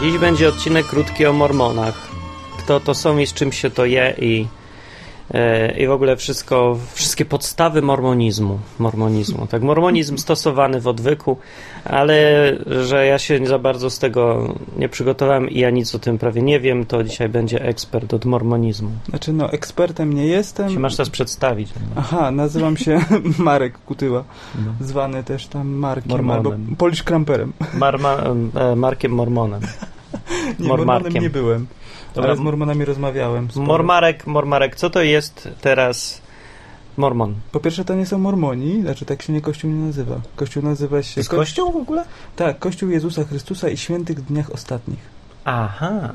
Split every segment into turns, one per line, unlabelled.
Czyli będzie odcinek krótki o mormonach. Kto to są i z czym się to je i, e, i w ogóle wszystko, wszystkie podstawy mormonizmu. mormonizmu. Tak, mormonizm stosowany w odwyku, ale że ja się za bardzo z tego nie przygotowałem i ja nic o tym prawie nie wiem, to dzisiaj będzie ekspert od mormonizmu.
Znaczy, no, ekspertem nie
Się
jestem.
masz teraz przedstawić.
Aha, nazywam się Marek Kutyła,
No.
zwany też tam Markiem
Mormonem.
albo Polish Kramperem.
Marma, e, Markiem Mormonem.
Nie,
Mormarkiem.
Mormonem nie byłem,
Dobra,
ale z Mormonami rozmawiałem. sporo.
Mormarek, Mormarek, co to jest teraz Mormon?
Po pierwsze, to nie są Mormoni, znaczy tak się nie Kościół nie nazywa. Kościół nazywa się...
Jest kościół w ogóle?
Tak, Kościół Jezusa Chrystusa i Świętych Dniach Ostatnich.
Aha.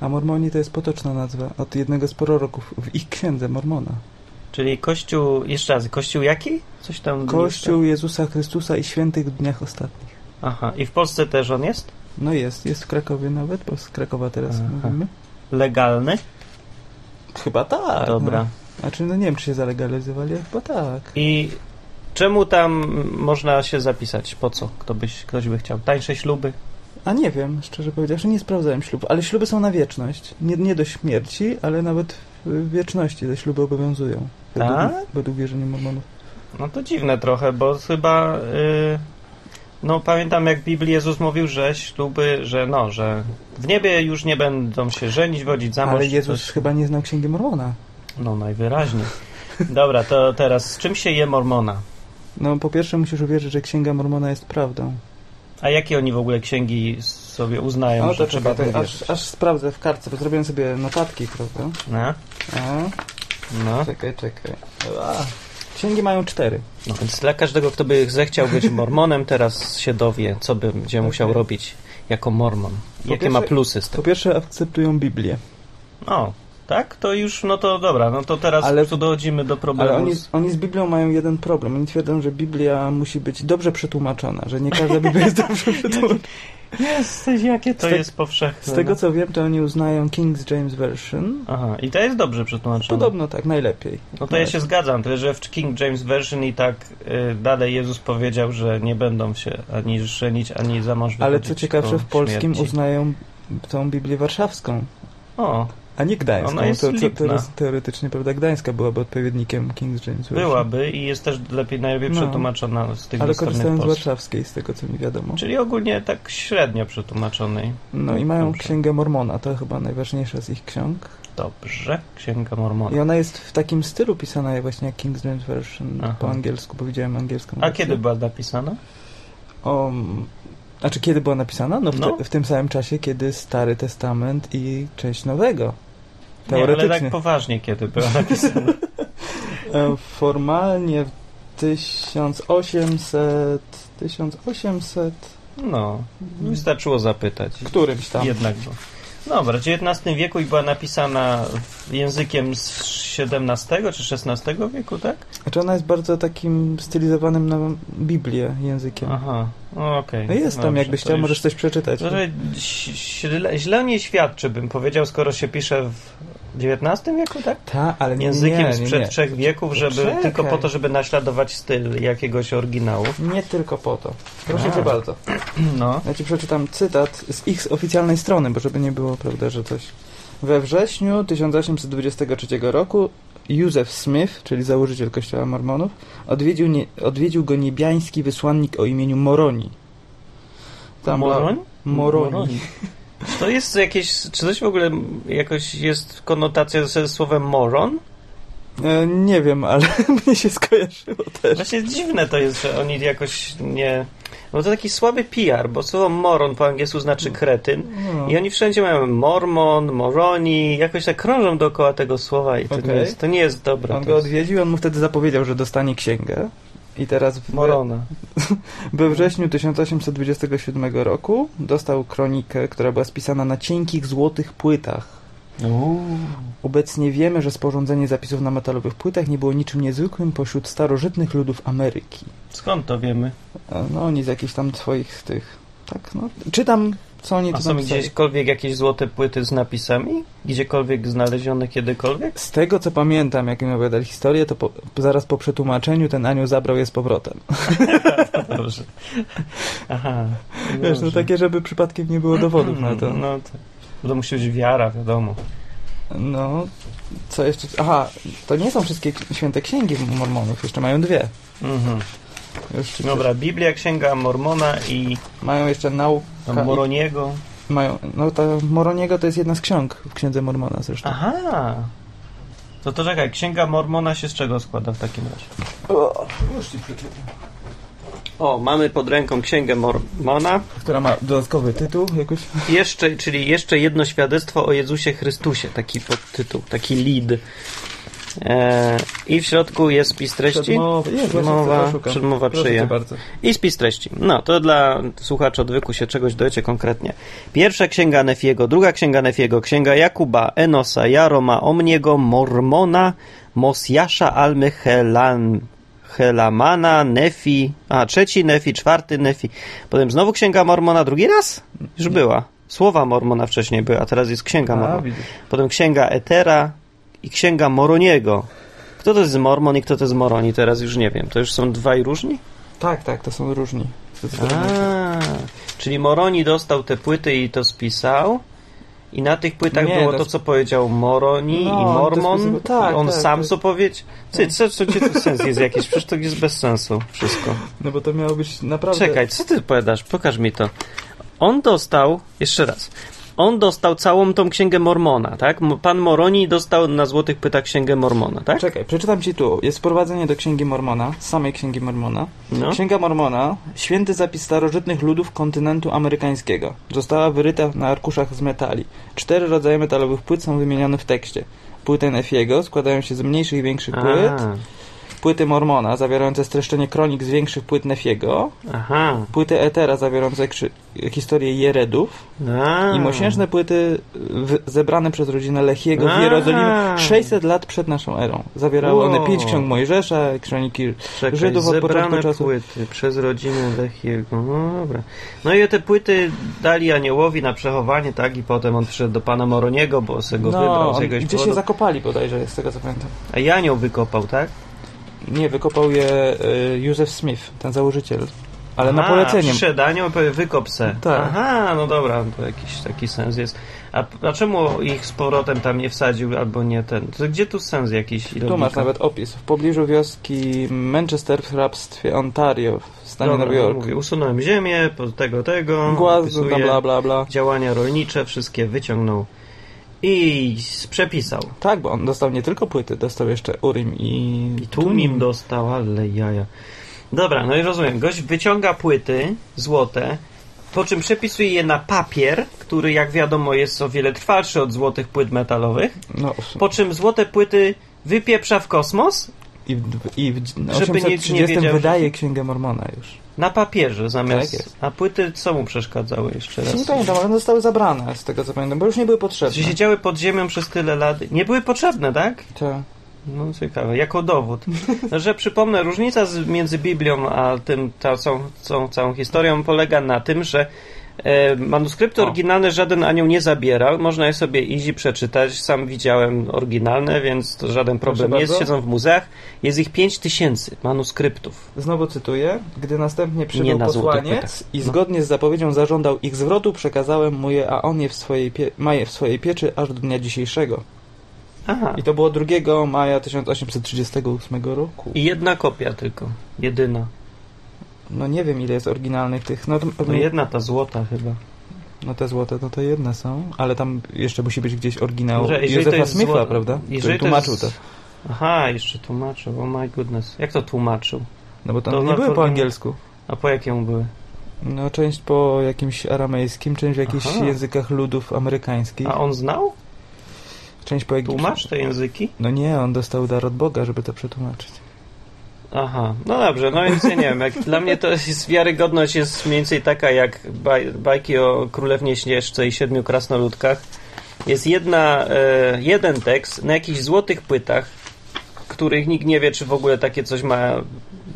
A Mormoni to jest potoczna nazwa od jednego z proroków w ich księdze Mormona.
Czyli kościół, jeszcze raz, kościół jaki? Coś tam.
Kościół Jezusa Chrystusa i Świętych Dniach Ostatnich.
Aha, i w Polsce też on jest?
No jest, jest w Krakowie nawet, bo z Krakowa teraz
Aha.
mówimy.
Legalny?
Chyba tak.
Dobra.
No. Znaczy, no nie wiem, czy się zalegalizowali, ale chyba tak.
I czemu tam można się zapisać? Po co? Kto byś, ktoś by chciał? Tańsze śluby?
A nie wiem, szczerze powiedziawszy, nie sprawdzałem ślubu, ale śluby są na wieczność. Nie, nie do śmierci, ale nawet w wieczności te śluby obowiązują. Według,
Tak?
według wierzenia mormonów.
No to dziwne trochę, bo chyba. y, no pamiętam jak w Biblii Jezus mówił, że śluby, że no, że w niebie już nie będą się żenić, wodzić za mąż.
ale Jezus
coś-
chyba nie znał Księgi Mormona.
No najwyraźniej. Dobra, to teraz z czym się je Mormona?
No po pierwsze musisz uwierzyć, że Księga Mormona jest prawdą.
A jakie oni w ogóle księgi sobie uznają, że trzeba
No, czekaj,
to
aż, aż sprawdzę w kartce, bo zrobiłem sobie notatki, prawda?
No,
A,
no.
czekaj, czekaj. A. Księgi mają cztery.
no więc dla każdego, kto by zechciał być mormonem, teraz się dowie, co będzie musiał
Okej.
robić jako mormon. Jakie
pierwsze-
ma plusy z
Po
tego.
pierwsze akceptują Biblię.
O, tak? To już, no to dobra, no to teraz
Ale-
tu dochodzimy do
Ale
problemu.
oni,
z-
oni z Biblią mają jeden problem. Oni twierdzą, że Biblia musi być dobrze przetłumaczona, że nie każda Biblia jest dobrze przetłumaczona.
Jesteś, jakie to
te-
jest powszechne.
Z tego
no.
co wiem, to oni uznają King James Version.
Aha, i to jest dobrze przetłumaczone.
Podobno tak, najlepiej.
No to ja się zgadzam, tyle że w King James Version i tak y, dalej Jezus powiedział, że nie będą się ani żenić, ani za mąż
Ale co
wychodzić po
ciekawsze, w polskim
śmierci.
uznają tą Biblię warszawską,
O,
a nie gdańską.
Ona jest
to, to, to
lipna.
jest teoretycznie, prawda, Gdańska byłaby odpowiednikiem King James Version.
Byłaby i jest też lepiej, najlepiej
No.
przetłumaczona z tych
Ale
dostępnych
korzystają z
polskich.
warszawskiej, z tego co mi wiadomo.
Czyli ogólnie tak średnio przetłumaczonej.
No i mają
Dobrze.
Księgę Mormona, to chyba najważniejsza z ich ksiąg.
Dobrze, Księga Mormona.
I ona jest w takim stylu pisana jak właśnie jak King James Version
Aha.
po angielsku, bo widziałem angielską
A
wersję.
kiedy była napisana?
O, m, znaczy kiedy była napisana? No w,
No.
Te, w tym samym czasie, kiedy Stary Testament i część Nowego.
Nie, ale tak
Teoretycznie.
poważnie kiedy była napisana.
E, Formalnie w 1800... 1800...
No, wystarczyło zapytać.
Którymś tam.
Jednak bo. Dobra, w XIX wieku i była napisana w- językiem z XVII czy XVI wieku, tak?
Znaczy ona jest bardzo takim stylizowanym na Biblię językiem.
Aha, no okej.
Tak. No jest tam,
Dobrze,
jakbyś
to
chciał,
już-
możesz coś przeczytać.
To, że ś- źle, źle nie świadczy, bym powiedział, skoro się pisze w XIX wieku, tak?
Ta, ale nie,
Językiem
nie, nie,
sprzed
nie. No
trzech wieków, żeby
Czekaj.
tylko po to, żeby naśladować styl jakiegoś oryginału.
Nie tylko po to. Proszę
A.
cię bardzo.
No.
Ja ci przeczytam cytat z ich oficjalnej strony, bo żeby nie było, prawda, że coś. We wrześniu 1823 roku Józef Smith, czyli założyciel kościoła mormonów, odwiedził, nie, odwiedził go niebiański wysłannik o imieniu Moroni. była-
Moroń?
Moroni.
Moroni. Czy to jest jakieś, czy coś w ogóle jakoś jest konotacja ze słowem moron?
E, nie wiem, ale mnie się skojarzyło też.
Właśnie dziwne to jest, że oni jakoś nie... Bo to taki słaby PR, bo słowo moron po angielsku znaczy kretyn.
No.
I oni wszędzie mają mormon, moroni, jakoś tak krążą dookoła tego słowa i to, nie,
Okej.
jest, to nie jest dobre.
On
to
go
jest
odwiedził, on mu wtedy zapowiedział, że dostanie księgę. I teraz w,
Morona.
We wrześniu 1827 roku dostał kronikę, która była spisana na cienkich złotych płytach. Obecnie wiemy, że sporządzenie zapisów na metalowych płytach nie było niczym niezwykłym pośród starożytnych ludów Ameryki.
Skąd to wiemy?
E, No oni z jakichś tam swoich tych... Tak, no. Czytam Co oni
A
tu
są
napisali?
gdzieśkolwiek jakieś złote płyty z napisami? Gdziekolwiek znalezione kiedykolwiek?
Z tego, co pamiętam, jak mi opowiadali historię, to po, zaraz po przetłumaczeniu ten anioł zabrał je z powrotem.
Dobrze. Aha.
Wiesz, to
dobrze.
takie, żeby przypadkiem nie było dowodów na to.
No tak. Bo to musi być wiara, wiadomo.
No, co jeszcze? Aha, to nie są wszystkie k- święte księgi mormonów, jeszcze mają dwie.
Mhm.
Już przecież
Dobra, Biblia, Księga Mormona i
Mają jeszcze naukę.
tam
i-
Moroniego.
Mają, no ta Moroniego to jest jedna z ksiąg w Księdze Mormona zresztą.
Aha. To to czekaj, Księga Mormona się z czego składa w takim razie?
O,
O, mamy pod ręką Księgę Mormona.
Która ma dodatkowy tytuł jakoś.
Jeszcze, czyli jeszcze jedno świadectwo o Jezusie Chrystusie, taki podtytuł, taki lead. E, I w środku jest spis treści.
Przedmowa, jest, właśnie
Przedmowa,
tego szukam.
przedmowa
Proszę
przyja.
cię bardzo.
I spis treści. No, to dla słuchaczy odwyku się czegoś dojecie konkretnie. Pierwsza księga Nefiego, druga księga Nefiego, księga Jakuba, Enosa, Jaroma, Omniego, Mormona, Mosjasza, Almy, Helan, Helamana, Nefi, a trzeci Nefi, czwarty Nefi. Potem znowu księga Mormona, drugi raz? Już była. Słowa Mormona wcześniej była, a teraz jest księga
A,
Mormona.
widzisz.
Potem księga Etera i księga Moroniego. Kto to jest Mormon i kto to jest Moroni, teraz już nie wiem. To już są dwaj różni?
Tak, tak, to są różni. Zdecydowanie.
A, czyli Moroni dostał te płyty i to spisał. I na tych płytach
Nie,
było
to
to,
sp-
co powiedział Moroni
No,
i
on to
Mormon.
spisywał- tak,
I on
tak,
sam
tak.
co powiedział. Cy, co, co, co, co sens jest jakiś? Przecież to jest bez sensu wszystko.
No bo to miało być naprawdę...
Czekaj, co ty powiadasz? Pokaż mi to. On dostał, jeszcze raz, on dostał całą tą księgę Mormona, tak? Mo- Pan Moroni dostał na złotych płytach księgę Mormona, tak?
Czekaj, przeczytam ci tu. Jest wprowadzenie do Księgi Mormona, samej Księgi Mormona.
No.
Księga Mormona, święty zapis starożytnych ludów kontynentu amerykańskiego. Została wyryta na arkuszach z metali. Cztery rodzaje metalowych płyt są wymienione w tekście. Płyty Nefiego składają się z mniejszych i większych płyt.
A,
Płyty Mormona zawierające streszczenie kronik z większych płyt Nefiego.
aha.
Płyty Etera zawierające krzy- historię Jeredów.
A.
I
Hmm.
mosiężne płyty w- zebrane przez rodzinę Lechiego w
Aha.
Jerozolimie 600 lat przed naszą erą. Zawierały one
O.
pięć ksiąg Mojżesza, kroniki
Czekaj,
Żydów od
zebrane
początku czasu.
płyty przez rodzinę Lechiego. No dobra. No i te płyty dali aniołowi na przechowanie, tak? I potem on przyszedł do pana Moroniego, bo se go wybrał z
No, on-
jakiegoś
gdzie
powodu.
się zakopali bodajże, z tego co pamiętam.
A i anioł wykopał, tak?
Nie, wykopał je y, Józef Smith, ten założyciel. Ale na
A,
polecenie.
Przyszedł anioł i powie, wykop se.
Tak.
Aha, no dobra, to jakiś taki sens jest. A, a czemu ich z powrotem tam nie wsadził, albo nie ten? To gdzie tu sens jakiś? i
Tu masz
logika?
nawet opis. W pobliżu wioski Manchester w hrabstwie Ontario w stanie
Dobra, no
Nowy Jork.
Mówię, usunąłem ziemię, po tego, tego.
Głazdu, tam
opisuję.
bla bla bla.
działania rolnicze, wszystkie wyciągnął i s- przepisał.
Tak, bo on dostał nie tylko płyty, dostał jeszcze Urim i,
I tłumim dostał, ale jaja. Dobra, no i rozumiem. Gość wyciąga płyty złote, po czym przepisuje je na papier, który jak wiadomo jest o wiele trwalszy od złotych płyt metalowych,
No,
po czym złote płyty wypieprza w kosmos
I w, i w
Żeby nikt nie
830
wiedział,
wydaje
że-
Księgę Mormona już.
na papierze zamiast...
Tak jest.
a płyty co mu przeszkadzały jeszcze
Teraz...
raz?
Nie pamiętam, ale one zostały zabrane z tego co pamiętam, bo już nie były
Że
potrzebne.
siedziały pod ziemią przez tyle lat. Nie były potrzebne, tak?
To...
No ciekawe, jako dowód. No, Że przypomnę, różnica z, między Biblią a tym ta, całą, całą, całą historią polega na tym, że e, manuskrypty
O.
oryginalne żaden anioł nie zabierał. Można je sobie easy przeczytać. Sam widziałem oryginalne, więc to żaden problem
Proszę
nie jest.
bardzo.
Siedzą w muzeach. Jest ich 5000 manuskryptów.
Znowu cytuję, gdy następnie
Nie
przybył
na złotych
posłaniec
płytach.
i
No.
zgodnie z zapowiedzią zażądał ich zwrotu, przekazałem mu je, a on je w swojej pie... ma je w swojej pieczy aż do dnia dzisiejszego.
Aha.
I to było 2 maja 1838 roku.
I jedna kopia tylko. Jedyna.
No nie wiem ile jest oryginalnych tych, no, to-
No jedna ta złota chyba.
no te złote no to jedne są, ale tam jeszcze musi być gdzieś oryginał
Że jeżeli to
Józefa
jest
Smitha,
zło-
prawda?
jeżeli
Który
to jest-
tłumaczył to.
Aha, jeszcze tłumaczył. Oh my goodness. Jak to tłumaczył?
No bo tam
To
nie
na
były po
formie-
angielsku.
A po jakiemu były?
No, część po jakimś aramejskim, część w jakichś
Aha.
językach ludów amerykańskich,
A on znał?
część po egipskim.
Tłumacz te języki?
No nie, on dostał dar od Boga, żeby to przetłumaczyć.
Aha, no dobrze, no więc ja nie wiem, jak dla mnie to jest, wiarygodność jest mniej więcej taka jak baj, bajki o Królewnie Śnieżce i Siedmiu Krasnoludkach. Jest jedna, e, jeden tekst na jakichś złotych płytach, których nikt nie wie, czy w ogóle takie coś ma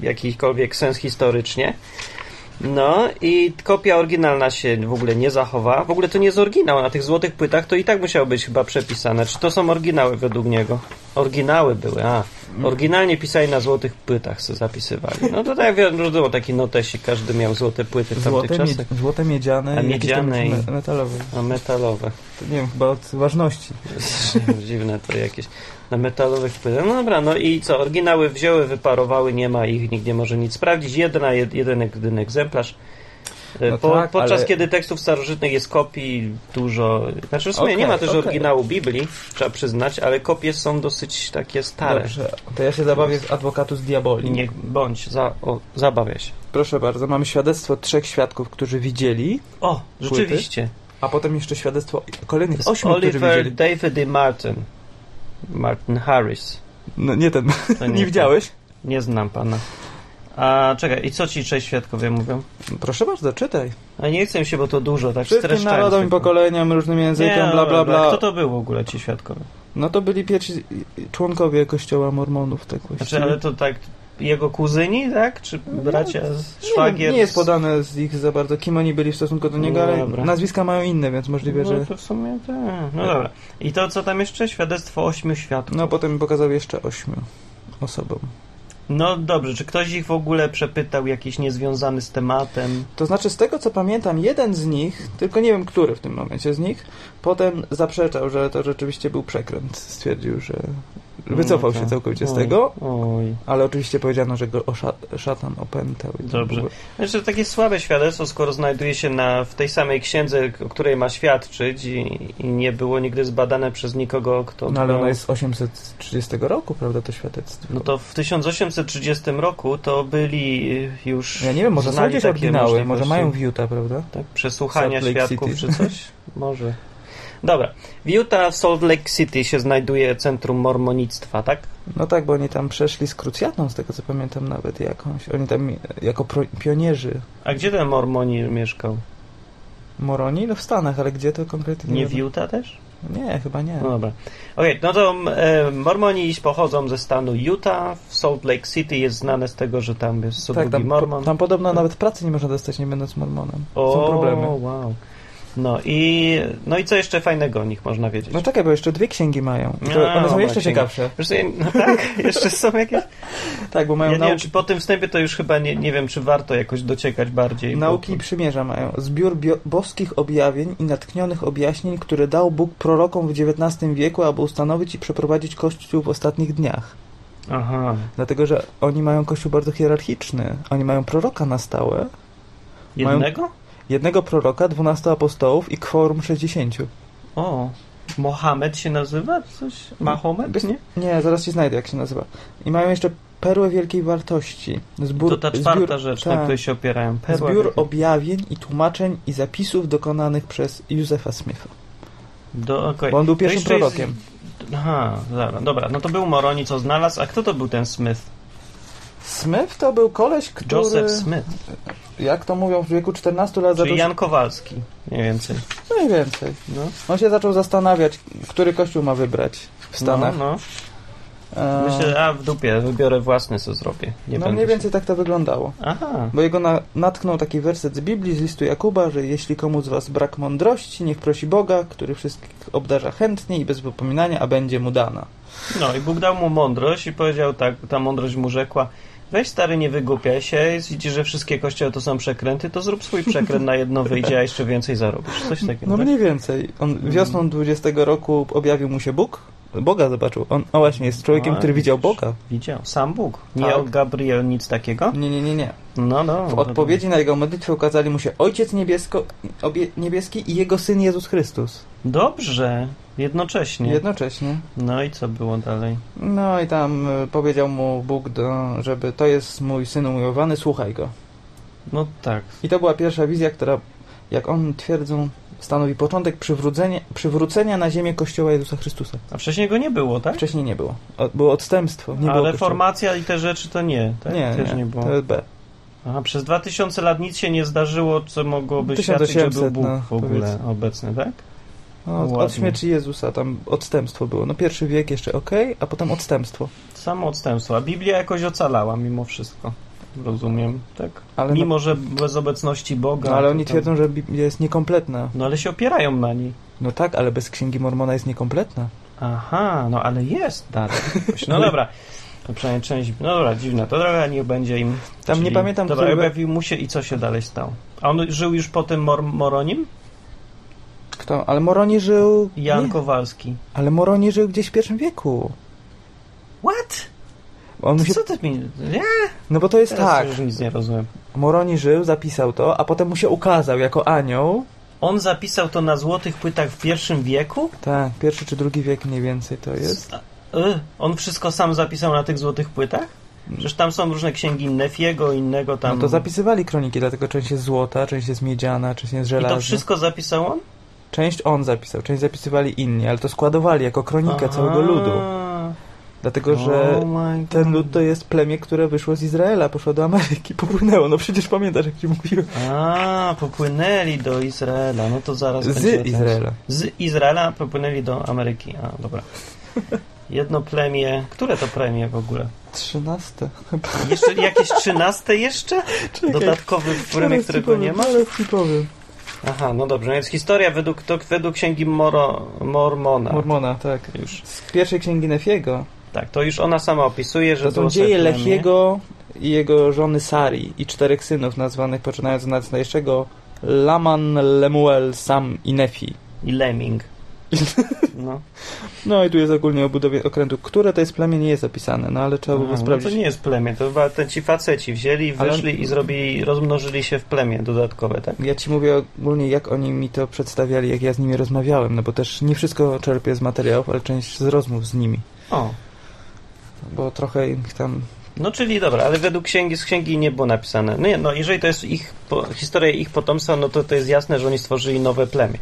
jakikolwiek sens historycznie. No i kopia oryginalna się w ogóle nie zachowa. W ogóle to nie jest oryginał. Na tych złotych płytach to i tak musiało być chyba przepisane. Czy to są oryginały według niego? Oryginały były, a. Oryginalnie pisali na złotych płytach, co zapisywali. No to tak wiem, było taki notesik, każdy miał złote płyty w tamtych
Złote, mie-
czasach.
złote miedziane,
A
i jakieś tam
miedziane i-
me- metalowe.
A metalowe.
To nie wiem, chyba od ważności.
Dziwne to jakieś. Na metalowych płytach. No dobra, no i co? Oryginały wzięły, wyparowały, nie ma ich, nikt nie może nic sprawdzić. Jedna, jed, jeden, jedyny egzemplarz. E,
No
Po,
tak,
podczas
ale-
kiedy tekstów starożytnych jest kopii dużo. Znaczy, w sumie nie
Okej,
ma też
okej.
oryginału Biblii, trzeba przyznać, ale kopie są dosyć takie stare.
Dobrze, to ja się zabawię z adwokatus diaboli.
Niech bądź, za, o, zabawia się.
Proszę bardzo, mamy świadectwo trzech świadków, którzy widzieli,
O, rzeczywiście.
a potem jeszcze świadectwo kolejnych
To jest
ośmiu, którzy
Oliver
widzieli.
David i Martin. Martin Harris.
No nie ten,
To
nie,
ten.
widziałeś?
Nie znam pana. A czekaj, i co ci trzej świadkowie mówią?
Proszę bardzo, czytaj.
A nie chcę się, bo to dużo, tak
Wszystkim
streszczając
narodom i
tylko.
pokoleniom, różnym
Nie,
językom,
no
bla
dobra,
bla bla.
Kto to był w ogóle ci świadkowie? Znaczy,
No to byli pierwsi członkowie kościoła mormonów, tak właściwie.
Znaczy, ale to tak jego kuzyni, tak? Czy bracia, z-
nie, wiem,
szwagier?
nie jest
z-
podane z ich za bardzo, kim oni byli w stosunku do niego,
No
ale
dobra.
nazwiska mają inne, więc możliwe,
No
że...
to w sumie tak. No dobra. I to co tam jeszcze? Świadectwo ośmiu świadków.
No potem pokazał jeszcze ośmiu osobom.
No dobrze, czy ktoś ich w ogóle przepytał jakiś niezwiązany z tematem?
To znaczy, z tego co pamiętam, jeden z nich, tylko nie wiem który w tym momencie z nich, potem zaprzeczał, że to rzeczywiście był przekręt. Stwierdził, że wycofał
No
się
tak.
całkowicie z
Oj,
tego,
Oj.
ale oczywiście powiedziano, że go osza- szatan opętał. i to
Dobrze.
było-
Znaczy, takie słabe świadectwo, skoro znajduje się na, w tej samej księdze, o której ma świadczyć i, i nie było nigdy zbadane przez nikogo, kto...
No ale
miał-
ona jest z 830 roku, prawda, to świadectwo.
No to w 1830 roku to byli y, już...
Ja nie wiem, może są
znali
gdzieś
takie
oryginały, może
możliwości,
mają w Utah, prawda?
Tak, przesłuchania
Salt Lake
świadków
City.
czy coś? Może. Dobra. W Utah, w Salt Lake City się znajduje centrum mormonictwa, tak?
No tak, bo oni tam przeszli z krucjatą, z tego co pamiętam nawet jakąś. Oni tam e, jako pro- pionierzy
A gdzie ten mormoni mieszkał?
Moroni, no w Stanach, ale gdzie to konkretnie?
Nie w
wiadomo.
Utah też?
Nie, chyba nie.
No dobra. Okej, no to e, Mormoni pochodzą ze stanu Utah. W Salt Lake City jest znane z tego, że tam jest co
tak,
drugi
tam,
mormon.
po, tam podobno nawet pracy nie można dostać, nie będąc mormonem. Są
O,
problemy.
wow. No i, no i co jeszcze fajnego o nich można wiedzieć?
No czekaj, bo jeszcze dwie księgi mają. I
No,
To, one są
ma
jeszcze
księgi.
ciekawsze.
Wiesz co, ja- no tak, jeszcze są jakieś...
Tak, bo
Ja
mają
nie wiem,
nauki,
czy po tym wstępie to już chyba nie, nie wiem, czy warto jakoś dociekać bardziej. bo
nauki i
to-
przymierza mają. Zbiór bio- boskich objawień i natchnionych objaśnień, które dał Bóg prorokom w XIX wieku, aby ustanowić i przeprowadzić Kościół w ostatnich dniach.
Aha.
Dlatego, że oni mają Kościół bardzo hierarchiczny. Oni mają proroka na stałe, Mają-
Jednego?
jednego proroka, 12 apostołów i kworum 60.
O, Mohamed się nazywa? Coś? Mahomet?
Bez-
Nie?
Nie, zaraz ci znajdę, jak się nazywa. I mają jeszcze perłę wielkiej wartości. Zbór,
To ta czwarta
zbiór,
rzecz, na
tak.
której się opierają. Perła
Zbiór
wielka.
objawień i tłumaczeń i zapisów dokonanych przez Józefa Smitha.
Do, okej.
Bo on był
To
pierwszym
No jeszcze jest-
prorokiem.
Aha, zaraz, dobra, no to był Moroni, co znalazł, a kto to był ten Smith?
Smith to był koleś, który, No,
Joseph Smith,
jak to mówią, w wieku 14 lat
czyli
zaczął...
Jan Kowalski, mniej więcej.
Mniej więcej.
No,
On się zaczął zastanawiać, który kościół ma wybrać w
no,
Stanach.
no.
E,
Myślę, a w dupie, wybiorę własny, co zrobię. Nie
no
będę
mniej
się-
więcej tak to wyglądało.
Aha,
Bo jego na, natknął taki werset z Biblii, z listu Jakuba, że jeśli komu z was brak mądrości, niech prosi Boga, który wszystkich obdarza chętnie i bez wypominania, a będzie mu dana.
no i Bóg dał mu mądrość i powiedział tak, ta mądrość mu rzekła, weź stary, nie wygłupiaj się, jeśli widzisz, że wszystkie kościoły to są przekręty, to zrób swój przekręt, na jedno wyjdzie, a jeszcze więcej zarobisz. Coś takiego,
No
tak? Mm.
mniej więcej. On wiosną 20 roku objawił mu się Bóg. Boga zobaczył. On o właśnie jest człowiekiem,
No, A,
który widział
widzisz.
Boga.
Widział, sam Bóg. Nie
Tak.
o Gabriel nic takiego?
Nie, nie, nie, nie.
No, no.
W odpowiedzi na jego modlitwę ukazali mu się Ojciec niebiesko, obie, Niebieski i jego Syn Jezus Chrystus.
Dobrze, jednocześnie.
Jednocześnie.
No i co było dalej?
No i tam y, powiedział mu Bóg, do, żeby to jest mój Syn umiłowany, słuchaj go.
No tak.
I to była pierwsza wizja, która, jak oni twierdzą, stanowi początek przywrócenia, przywrócenia na ziemię Kościoła Jezusa Chrystusa.
A wcześniej go nie było, tak?
Wcześniej nie było. O, było odstępstwo. Nie
A
było
reformacja i te rzeczy to nie, tak?
Kościoła. Nie,
Też
nie,
nie, było.
To jest B.
Aha, przez 2000 lat nic się nie zdarzyło, co mogłoby
1800,
świadczyć, że był Bóg
no,
w ogóle
powiedzmy.
obecny, tak?
No, od-
Ładnie.
od śmierci Jezusa tam odstępstwo było. No pierwszy wiek jeszcze ok, a potem odstępstwo.
Samo odstępstwo. A Biblia jakoś ocalała mimo wszystko.
rozumiem, tak?
Ale
Mimo, że bez obecności Boga.
No, ale
to
oni
tam-
twierdzą, że Biblia jest niekompletna.
No ale się opierają na niej.
No tak, ale bez Księgi Mormona jest niekompletna.
Aha, no ale jest dalej. No dobra. No przynajmniej część. No dobra, dziwne. To dobra, niech będzie im.
Tam
czyli-
nie pamiętam,
Dobra,
który-
objawił mu się i co się dalej stało? A on żył już po tym mor- Moronim?
Kto? Ale Moroni żył...
Jan
Nie,
Kowalski.
ale Moroni żył gdzieś w pierwszym wieku.
What?
On
To
mu się...
Co ty mi... Ja
No bo to jest
teraz
tak.
już nic nie rozumiem.
Moroni żył, zapisał to, a potem mu się ukazał jako anioł.
On zapisał to na złotych płytach w pierwszym wieku?
Tak, pierwszy czy drugi wiek mniej więcej to jest.
Y, on wszystko sam zapisał na tych złotych płytach? Przecież tam są różne księgi Nefiego, innego tam...
No to zapisywali kroniki, dlatego część jest złota, część jest miedziana, część jest
I to
żelazna.
wszystko zapisał on?
Część on zapisał, część zapisywali inni, ale to składowali jako kronikę całego ludu. Dlatego, że
Oh my
ten
God.
lud to jest plemię, które wyszło z Izraela, poszło do Ameryki, popłynęło. No przecież pamiętasz, jak ci mówiłem.
A, popłynęli do Izraela. No to zaraz będzie
Z
ten-
Izraela.
Z Izraela popłynęli do Ameryki. A, dobra. Jedno plemię. Które to plemię w ogóle?
Trzynaste.
Jeszcze jakieś trzynaste jeszcze? No Dodatkowy plemię,
Zaraz ci
tak, którego nie
powiem,
ma?
zaraz ci powiem.
Aha, no dobrze. No więc historia według, to, według księgi Moro, Mormona.
Mormona, tak.
No. Już.
Z pierwszej księgi Nefiego.
Tak, to już ona sama opisuje, że
To są
było sobie
dzieje
plemię.
Lechiego i jego żony Sari i czterech synów nazwanych poczynając od najstarszego Laman, Lemuel, Sam i Nefi.
I Lemming. No.
No i tu jest ogólnie o budowie okrętu. Które to jest plemię nie jest zapisane, no ale trzeba
Aha,
było
no
sprawdzić.
to nie jest plemię. To chyba te ci faceci wzięli,
Ale-
wyszli i zrobili, rozmnożyli się w plemię dodatkowe, tak?
Ja ci mówię ogólnie, jak oni mi to przedstawiali, jak ja z nimi rozmawiałem, no bo też nie wszystko czerpię z materiałów, ale część z rozmów z nimi,
O,
bo trochę ich tam...
No czyli dobra, ale według księgi, z księgi nie było napisane. No nie, no jeżeli to jest ich, po, historia ich potomstwa, no to to jest jasne, że oni stworzyli nowe plemię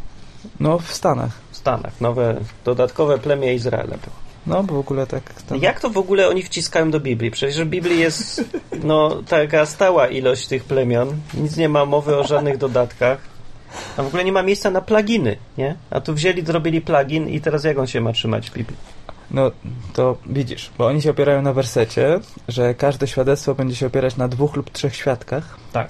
No, w Stanach.
w Stanach. Nowe, dodatkowe plemię Izraela było.
No, bo w ogóle tak... Tam...
Jak to w ogóle oni wciskają do Biblii? Przecież w Biblii jest, no, taka stała ilość tych plemion. Nic nie ma mowy o żadnych dodatkach. A w ogóle nie ma miejsca na pluginy, nie? A tu wzięli, zrobili plugin i teraz jak on się ma trzymać w Biblii?
No, to widzisz, bo oni się opierają na wersecie, że każde świadectwo będzie się opierać na dwóch lub trzech świadkach.
Tak.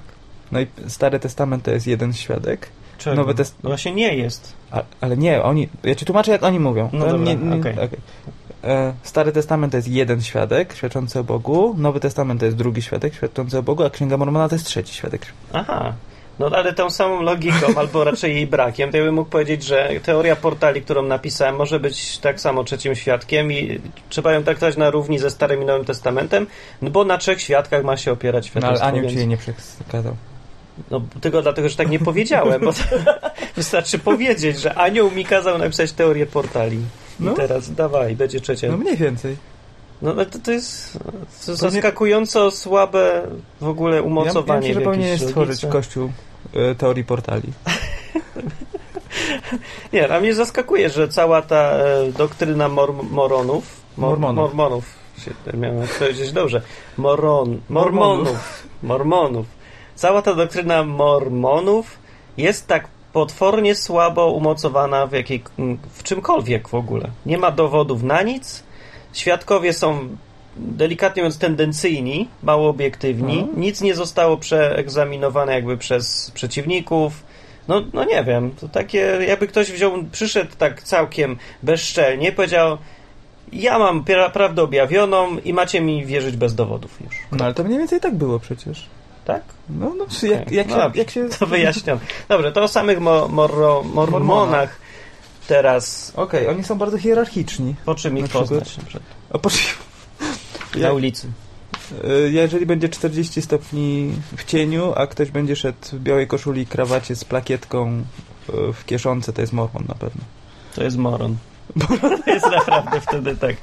No i Stary Testament to jest jeden świadek,
Czego?
Nowy Test-
No właśnie nie jest.
a, ale nie, oni... Ja ci tłumaczę, jak oni mówią.
No
To
dobra,
nie, nie,
okej.
okej. E, Stary Testament to jest jeden świadek świadczący o Bogu, Nowy Testament to jest drugi świadek świadczący o Bogu, a Księga Mormona to jest trzeci świadek.
Aha. No ale tą samą logiką, albo raczej jej brakiem, to ja bym mógł powiedzieć, że teoria portali, którą napisałem, może być tak samo trzecim świadkiem i trzeba ją traktować na równi ze Starym i Nowym Testamentem, no bo na trzech świadkach ma się opierać
No, ale
świadectwo.
anioł
więc...
ci jej nie przekazał.
No tylko dlatego, że tak nie powiedziałem, bo wystarczy powiedzieć, że anioł mi kazał napisać teorię portali.
No.
I teraz dawaj, będzie trzecia.
No mniej więcej.
No ale to, to jest to zaskakująco słabe w ogóle
ja, ja
umocowanie
myślę, że
w
powinien
jakiejś
stworzyć
logice.
kościół e, teorii portali.
Nie, a mnie zaskakuje, że cała ta e, doktryna mor moronów, mor
Mormonów.
mormonów się, miałem powiedzieć dobrze, moron, mormonów, mormonów, cała ta doktryna mormonów jest tak potwornie słabo umocowana w, jakiej, w czymkolwiek w ogóle. Nie ma dowodów na nic, świadkowie są delikatnie mówiąc tendencyjni, mało obiektywni,
Mhm.
nic nie zostało przeegzaminowane jakby przez przeciwników, no, no nie wiem, to takie, jakby ktoś wziął, przyszedł tak całkiem bezczelnie, powiedział, ja mam pra- prawdę objawioną i macie mi wierzyć bez dowodów już.
No ale to mniej więcej tak było przecież.
Tak?
No, no, jak, jak,
No
się,
dobrze.
jak się...
To wyjaśniam. Dobrze, to o samych mo- morro- mormonach
Mormonach.
teraz.
Okej, oni są bardzo hierarchiczni.
Po czym
Na
ich
przykład?
poznać? na przykład?
A po
Na
jak,
ulicy.
y, jeżeli będzie 40 stopni w cieniu, a ktoś będzie szedł w białej koszuli i krawacie z plakietką y, w kieszonce, to jest mormon na pewno.
To jest moron. To jest naprawdę wtedy tak.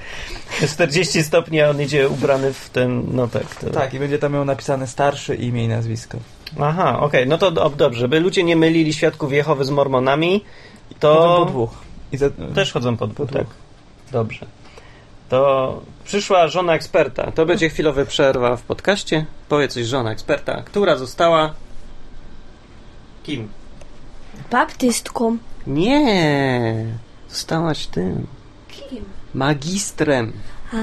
40 stopni, a on idzie ubrany w ten, no tak. To...
Tak, i będzie tam miał napisane starsze imię i nazwisko.
Aha, okej, no to do- dobrze. By ludzie nie mylili świadków Jehowy z mormonami,
To...
to...
po dwóch. I za...
Też chodzą pod dwóch,
Po dwóch.
tak. Dobrze. To przyszła żona eksperta. To będzie chwilowa przerwa w podcaście. Powie coś żona eksperta, która została... Kim?
Baptystką.
Nie! Zostałaś tym.
Kim?
Magistrem.
A,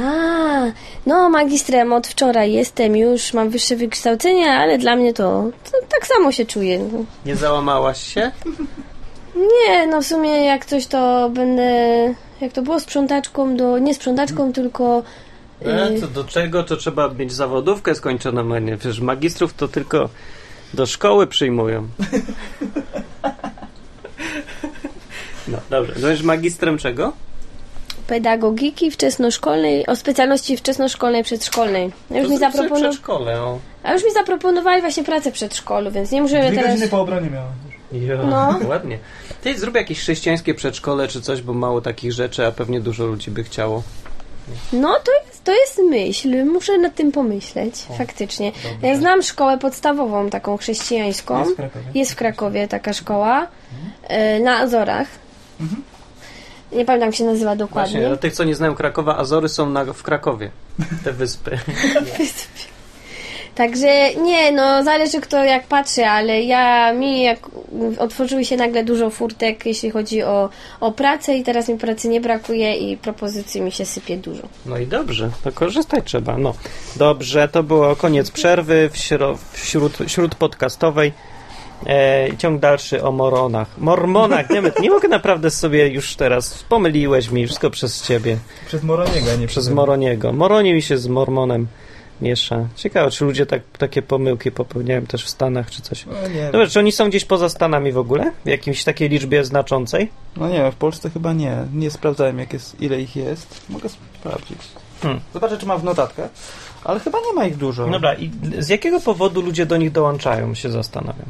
no magistrem od wczoraj jestem już, mam wyższe wykształcenie, ale dla mnie to, to tak samo się czuję. No.
Nie załamałaś się?
Nie, no w sumie jak coś to będę, jak to było sprzątaczką do, nie sprzątaczką, tylko
Hmm.
y,
E, co do czego, to trzeba mieć zawodówkę skończoną, a nie przecież magistrów to tylko do szkoły przyjmują. No, dobrze. Będziesz magistrem czego?
pedagogiki wczesnoszkolnej, o specjalności wczesnoszkolnej, przedszkolnej. A Już
To
mi
zrób sobie
zapropono-
przedszkole, o.
a już mi zaproponowali właśnie pracę w przedszkolu, więc nie muszę
Dwie
teraz...
godziny po obronie miałem.
Ja,
No.
Ładnie. Ty zrób jakieś chrześcijańskie przedszkole czy coś, bo mało takich rzeczy, a pewnie dużo ludzi by chciało.
No to jest, to jest myśl, muszę nad tym pomyśleć, faktycznie. Ja znam szkołę podstawową, taką chrześcijańską.
Jest w Krakowie.
Jest w Krakowie taka szkoła, e, na Azorach. Nie pamiętam, jak się nazywa
Właśnie,
dokładnie.
dla tych, co nie znają Krakowa, Azory są na, w Krakowie. Te wyspy.
Także nie, no zależy kto jak patrzy, ale ja, mi jak otworzyły się nagle dużo furtek, jeśli chodzi o, o pracę i teraz mi pracy nie brakuje i propozycji mi się sypie dużo.
No i dobrze, to korzystać trzeba. No. Dobrze, to było koniec przerwy wśro, wśród, wśród podcastowej. E, ciąg dalszy o moronach. Mormonach, nie, nie mogę naprawdę sobie już teraz. Pomyliłeś mi wszystko przez ciebie.
Przez Moroniego, a nie
Przez Moroniego. Moronie mi się z Mormonem miesza. Ciekawe, czy ludzie tak, takie pomyłki popełniają też w Stanach czy coś.
No nie,
Dobra, czy oni są gdzieś poza Stanami w ogóle? W jakiejś takiej liczbie znaczącej?
no nie, w Polsce chyba nie. Nie sprawdzałem, jak jest, ile ich jest. Mogę sprawdzić.
Hmm.
Zobaczę, czy mam w notatkach. Ale chyba nie ma ich dużo.
Dobra, i z jakiego powodu ludzie do nich dołączają, się zastanawiam.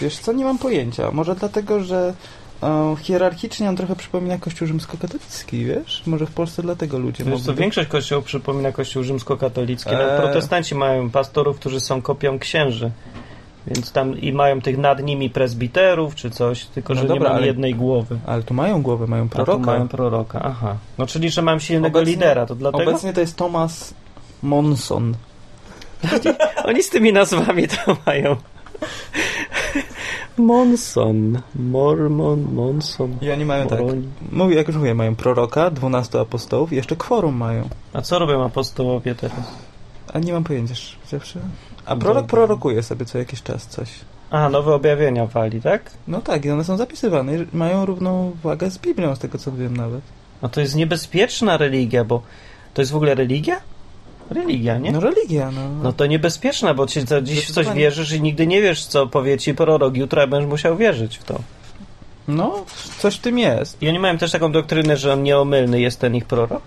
Wiesz co, nie mam pojęcia. Może dlatego, że e, hierarchicznie on trochę przypomina kościół rzymskokatolicki, wiesz? Może w Polsce dlatego ludzie
Wiesz co,
mogą...
większość kościołów przypomina kościół rzymskokatolicki.
Eee.
Nawet protestanci mają pastorów, którzy są kopią księży. Więc tam i mają tych nad nimi prezbiterów czy coś, tylko
No
że
dobra,
nie ma
ale-
jednej głowy.
Ale tu mają głowę, mają
A tu
proroka.
mają proroka, aha. No czyli, że mam silnego
Obecnie-
lidera, to dlatego?
Obecnie to jest Thomas Monson.
Oni z tymi nazwami to mają. Monson, Mormon, Monson,
I oni mają tak...
Moroni.
Mówię, jak już mówię, mają proroka, 12 apostołów i jeszcze kworum mają.
A co robią apostołowie teraz?
A nie mam pojęcia, szczerze zawsze. A
No
prorok
dobra.
prorokuje sobie co jakiś czas coś.
A, nowe objawienia wali, tak?
No tak, i one są zapisywane i mają równą wagę z Biblią, z tego co wiem nawet.
No to jest niebezpieczna religia, bo to jest w ogóle religia? Religia, nie?
No religia, no.
No to niebezpieczne, bo ci, to dziś w coś
Zdecydowanie.
wierzysz i nigdy nie wiesz, co powie ci prorok. Jutro będziesz musiał wierzyć w to.
No, coś w tym jest.
I oni mają też taką doktrynę, że on nieomylny jest ten ich prorok?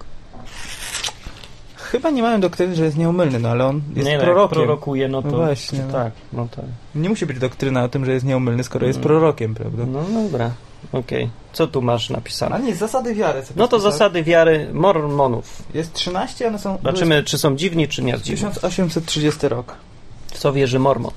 Chyba nie mają doktryny, że jest nieumylny, no ale on jest
nie, no, jak
prorokiem.
prorokuje, no to...
No właśnie, no.
Tak, no tak.
Nie musi być doktryna o tym, że jest nieumylny, skoro jest
Mm.
prorokiem, prawda?
No dobra, okej. Co tu masz napisane?
nie, zasady wiary. sobie
No to
wpisałem.
zasady wiary mormonów.
Jest 13, one są...
Zobaczymy, czy są dziwni, czy nie dziwni.
1830 rok.
W co wierzy mormon?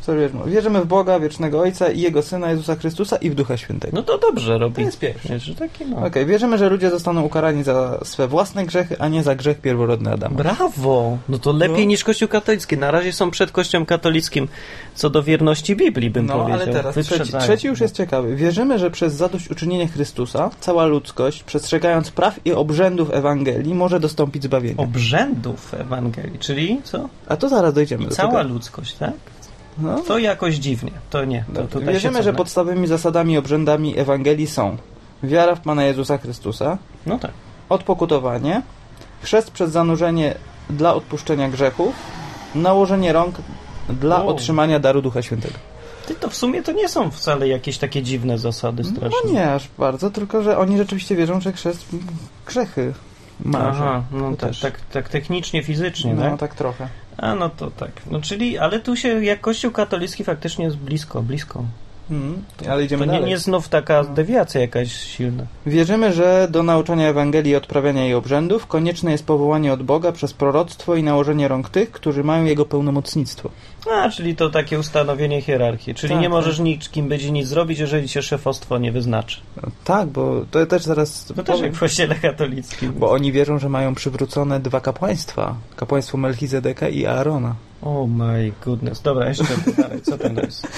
Co wierzymy? Wierzymy w Boga, wiecznego Ojca i Jego Syna Jezusa Chrystusa i w Ducha Świętego.
No to dobrze robi.
to jest pierwsze.
Wiesz, taki no.
Okej, wierzymy, że ludzie zostaną ukarani za swe własne grzechy, a nie za grzech pierworodny Adama.
Brawo! No to lepiej
No.
niż Kościół katolicki. Na razie są przed Kościołem katolickim co do wierności Biblii, bym
no,
powiedział.
ale teraz trzeci,
Wyprzedzają.
trzeci już jest ciekawy. Wierzymy, że przez zadośćuczynienie Chrystusa cała ludzkość, przestrzegając praw i obrzędów Ewangelii, może dostąpić zbawienia.
Obrzędów Ewangelii, czyli co?
A to zaraz dojdziemy
I
do
cała
tego.
ludzkość, tak?
No.
To jakoś dziwnie. To nie. To
Dobrze.
tutaj się
Wierzymy, że
cofnę.
podstawowymi zasadami i obrzędami Ewangelii są wiara w Pana Jezusa Chrystusa,
No tak.
odpokutowanie, chrzest przez zanurzenie dla odpuszczenia grzechów, nałożenie rąk dla
Wow.
otrzymania daru Ducha Świętego.
Ty to w sumie to nie są wcale jakieś takie dziwne zasady straszne.
No nie aż bardzo, tylko że oni rzeczywiście wierzą, że chrzest mm, grzechy ma. że-
Aha, no
To
tak,
też.
tak, tak technicznie, fizycznie,
no
tak?
tak trochę.
A no to tak. No czyli, ale tu się jak Kościół katolicki faktycznie jest blisko, blisko.
Mhm. Ale idziemy
To nie,
dalej. No.
nie znów taka dewiacja jakaś silna.
Wierzymy, że do nauczania Ewangelii i odprawiania jej obrzędów konieczne jest powołanie od Boga przez proroctwo i nałożenie rąk tych, którzy mają jego pełnomocnictwo.
A, czyli to takie ustanowienie hierarchii. Czyli
Tak,
nie
tak.
możesz niczym będzie nic zrobić, jeżeli cię szefostwo nie wyznaczy.
Tak, bo to też zaraz
To też
No powiem,
jak w kościele katolickim.
bo oni wierzą, że mają przywrócone dwa kapłaństwa. Kapłaństwo Melchizedeka i Aarona.
Oh my goodness. Dobra, jeszcze dalej. Co tam jest?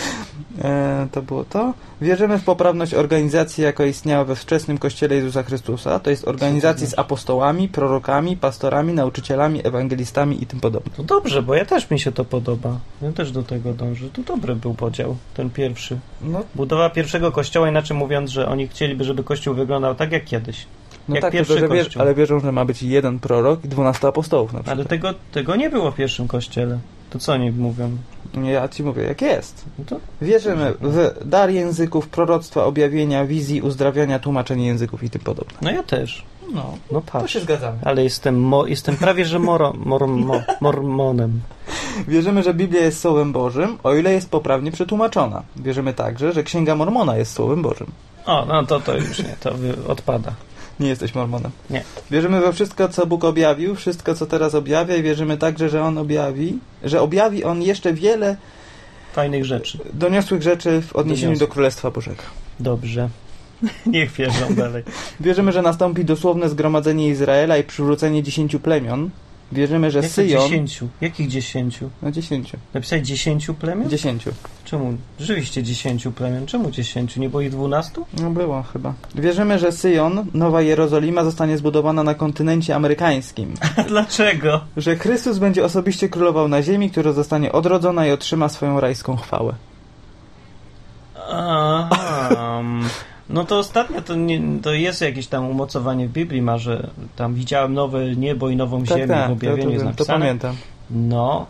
E, to było to. Wierzymy w poprawność organizacji, jaka istniała we wczesnym Kościele Jezusa Chrystusa. To jest organizacji z apostołami, prorokami, pastorami, nauczycielami, ewangelistami i tym podobne.
No dobrze, bo ja też mi się to podoba. Ja też do tego dążę. To dobry był podział, ten pierwszy.
No,
Budowa pierwszego kościoła, inaczej mówiąc, że oni chcieliby, żeby kościół wyglądał tak jak kiedyś.
no
Jak
tak,
pierwszy
tylko, że wier-
Kościół.
ale wierzą, że ma być jeden prorok i dwunastu apostołów na
Ale
przykład.
tego, tego nie było w pierwszym kościele. To co oni mówią?
Ja ci mówię, jak jest.
No to
Wierzymy w dar języków, proroctwa, objawienia, wizji, uzdrawiania, tłumaczenia języków i tym podobne.
No ja też.
No,
No patrz.
zgadzamy.
Ale jestem, mo, jestem prawie, że moro, mor, mo, mormonem.
Wierzymy, że Biblia jest Słowem Bożym, o ile jest poprawnie przetłumaczona. Wierzymy także, że Księga Mormona jest Słowem Bożym.
O, no to to już nie, to wy, odpada.
Nie jesteś mormonem.
Nie.
Wierzymy we wszystko, co Bóg objawił, wszystko, co teraz objawia i wierzymy także, że On objawi, że objawi On jeszcze wiele
Fajnych rzeczy.
doniosłych rzeczy w odniesieniu
Doniosłych.
do Królestwa Bożego.
Dobrze. Niech wierzą dalej.
Wierzymy, że nastąpi dosłowne zgromadzenie Izraela i przywrócenie dziesięciu plemion. Wierzymy, że
Jakich
Syjon...
dziesięciu? Jakich dziesięciu?
No dziesięciu.
Napisałeś dziesięciu plemion?
Dziesięciu.
Czemu? Rzeczywiście dziesięciu plemion. Czemu dziesięciu? Nie było ich dwunastu?
No było chyba. Wierzymy, że Syjon, Nowa Jerozolima, zostanie zbudowana na kontynencie amerykańskim.
Dlaczego?
Że Chrystus będzie osobiście królował na ziemi, która zostanie odrodzona i otrzyma swoją rajską chwałę.
Aha. No to ostatnio to, nie, to jest jakieś tam umocowanie w Biblii, ma, że tam widziałem nowe niebo i nową ziemię w
Tak, to,
objawieniu jest
to, to
napisane.
pamiętam.
No,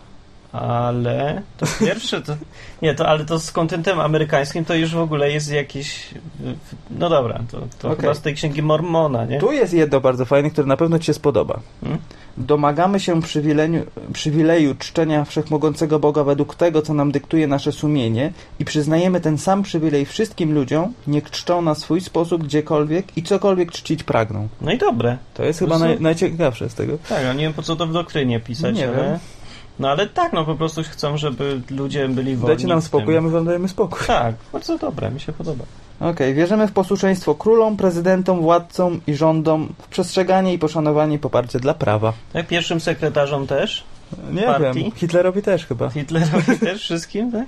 ale to pierwsze to. Nie, to ale to z kontentem amerykańskim to już w ogóle jest jakiś. No dobra, to, to
Okej.
chyba z tej księgi Mormona, nie?
Tu jest jedno bardzo fajne, które na pewno Ci się spodoba.
Hmm?
Domagamy się przywileniu, przywileju czczenia wszechmogącego Boga według tego, co nam dyktuje nasze sumienie i przyznajemy ten sam przywilej wszystkim ludziom, niech czczą na swój sposób gdziekolwiek i cokolwiek czcić pragną.
No i dobre.
To jest
To
chyba
są-
naj, najciekawsze z tego.
Tak, no nie wiem po co to w doktrynie pisać,
Nie
ale.
wiem.
No ale tak, no po prostu chcą, żeby ludzie byli wolni.
Dajcie nam
w
spokój, a
tym.
my wam dajemy spokój.
Tak, bardzo dobre, mi się podoba.
Okej, wierzymy w posłuszeństwo królom, prezydentom, władcom i rządom, w przestrzeganie i poszanowanie i poparcie dla prawa.
Tak, pierwszym sekretarzom też?
Nie
Partii?
wiem, Hitlerowi też chyba.
Hitlerowi też wszystkim, tak?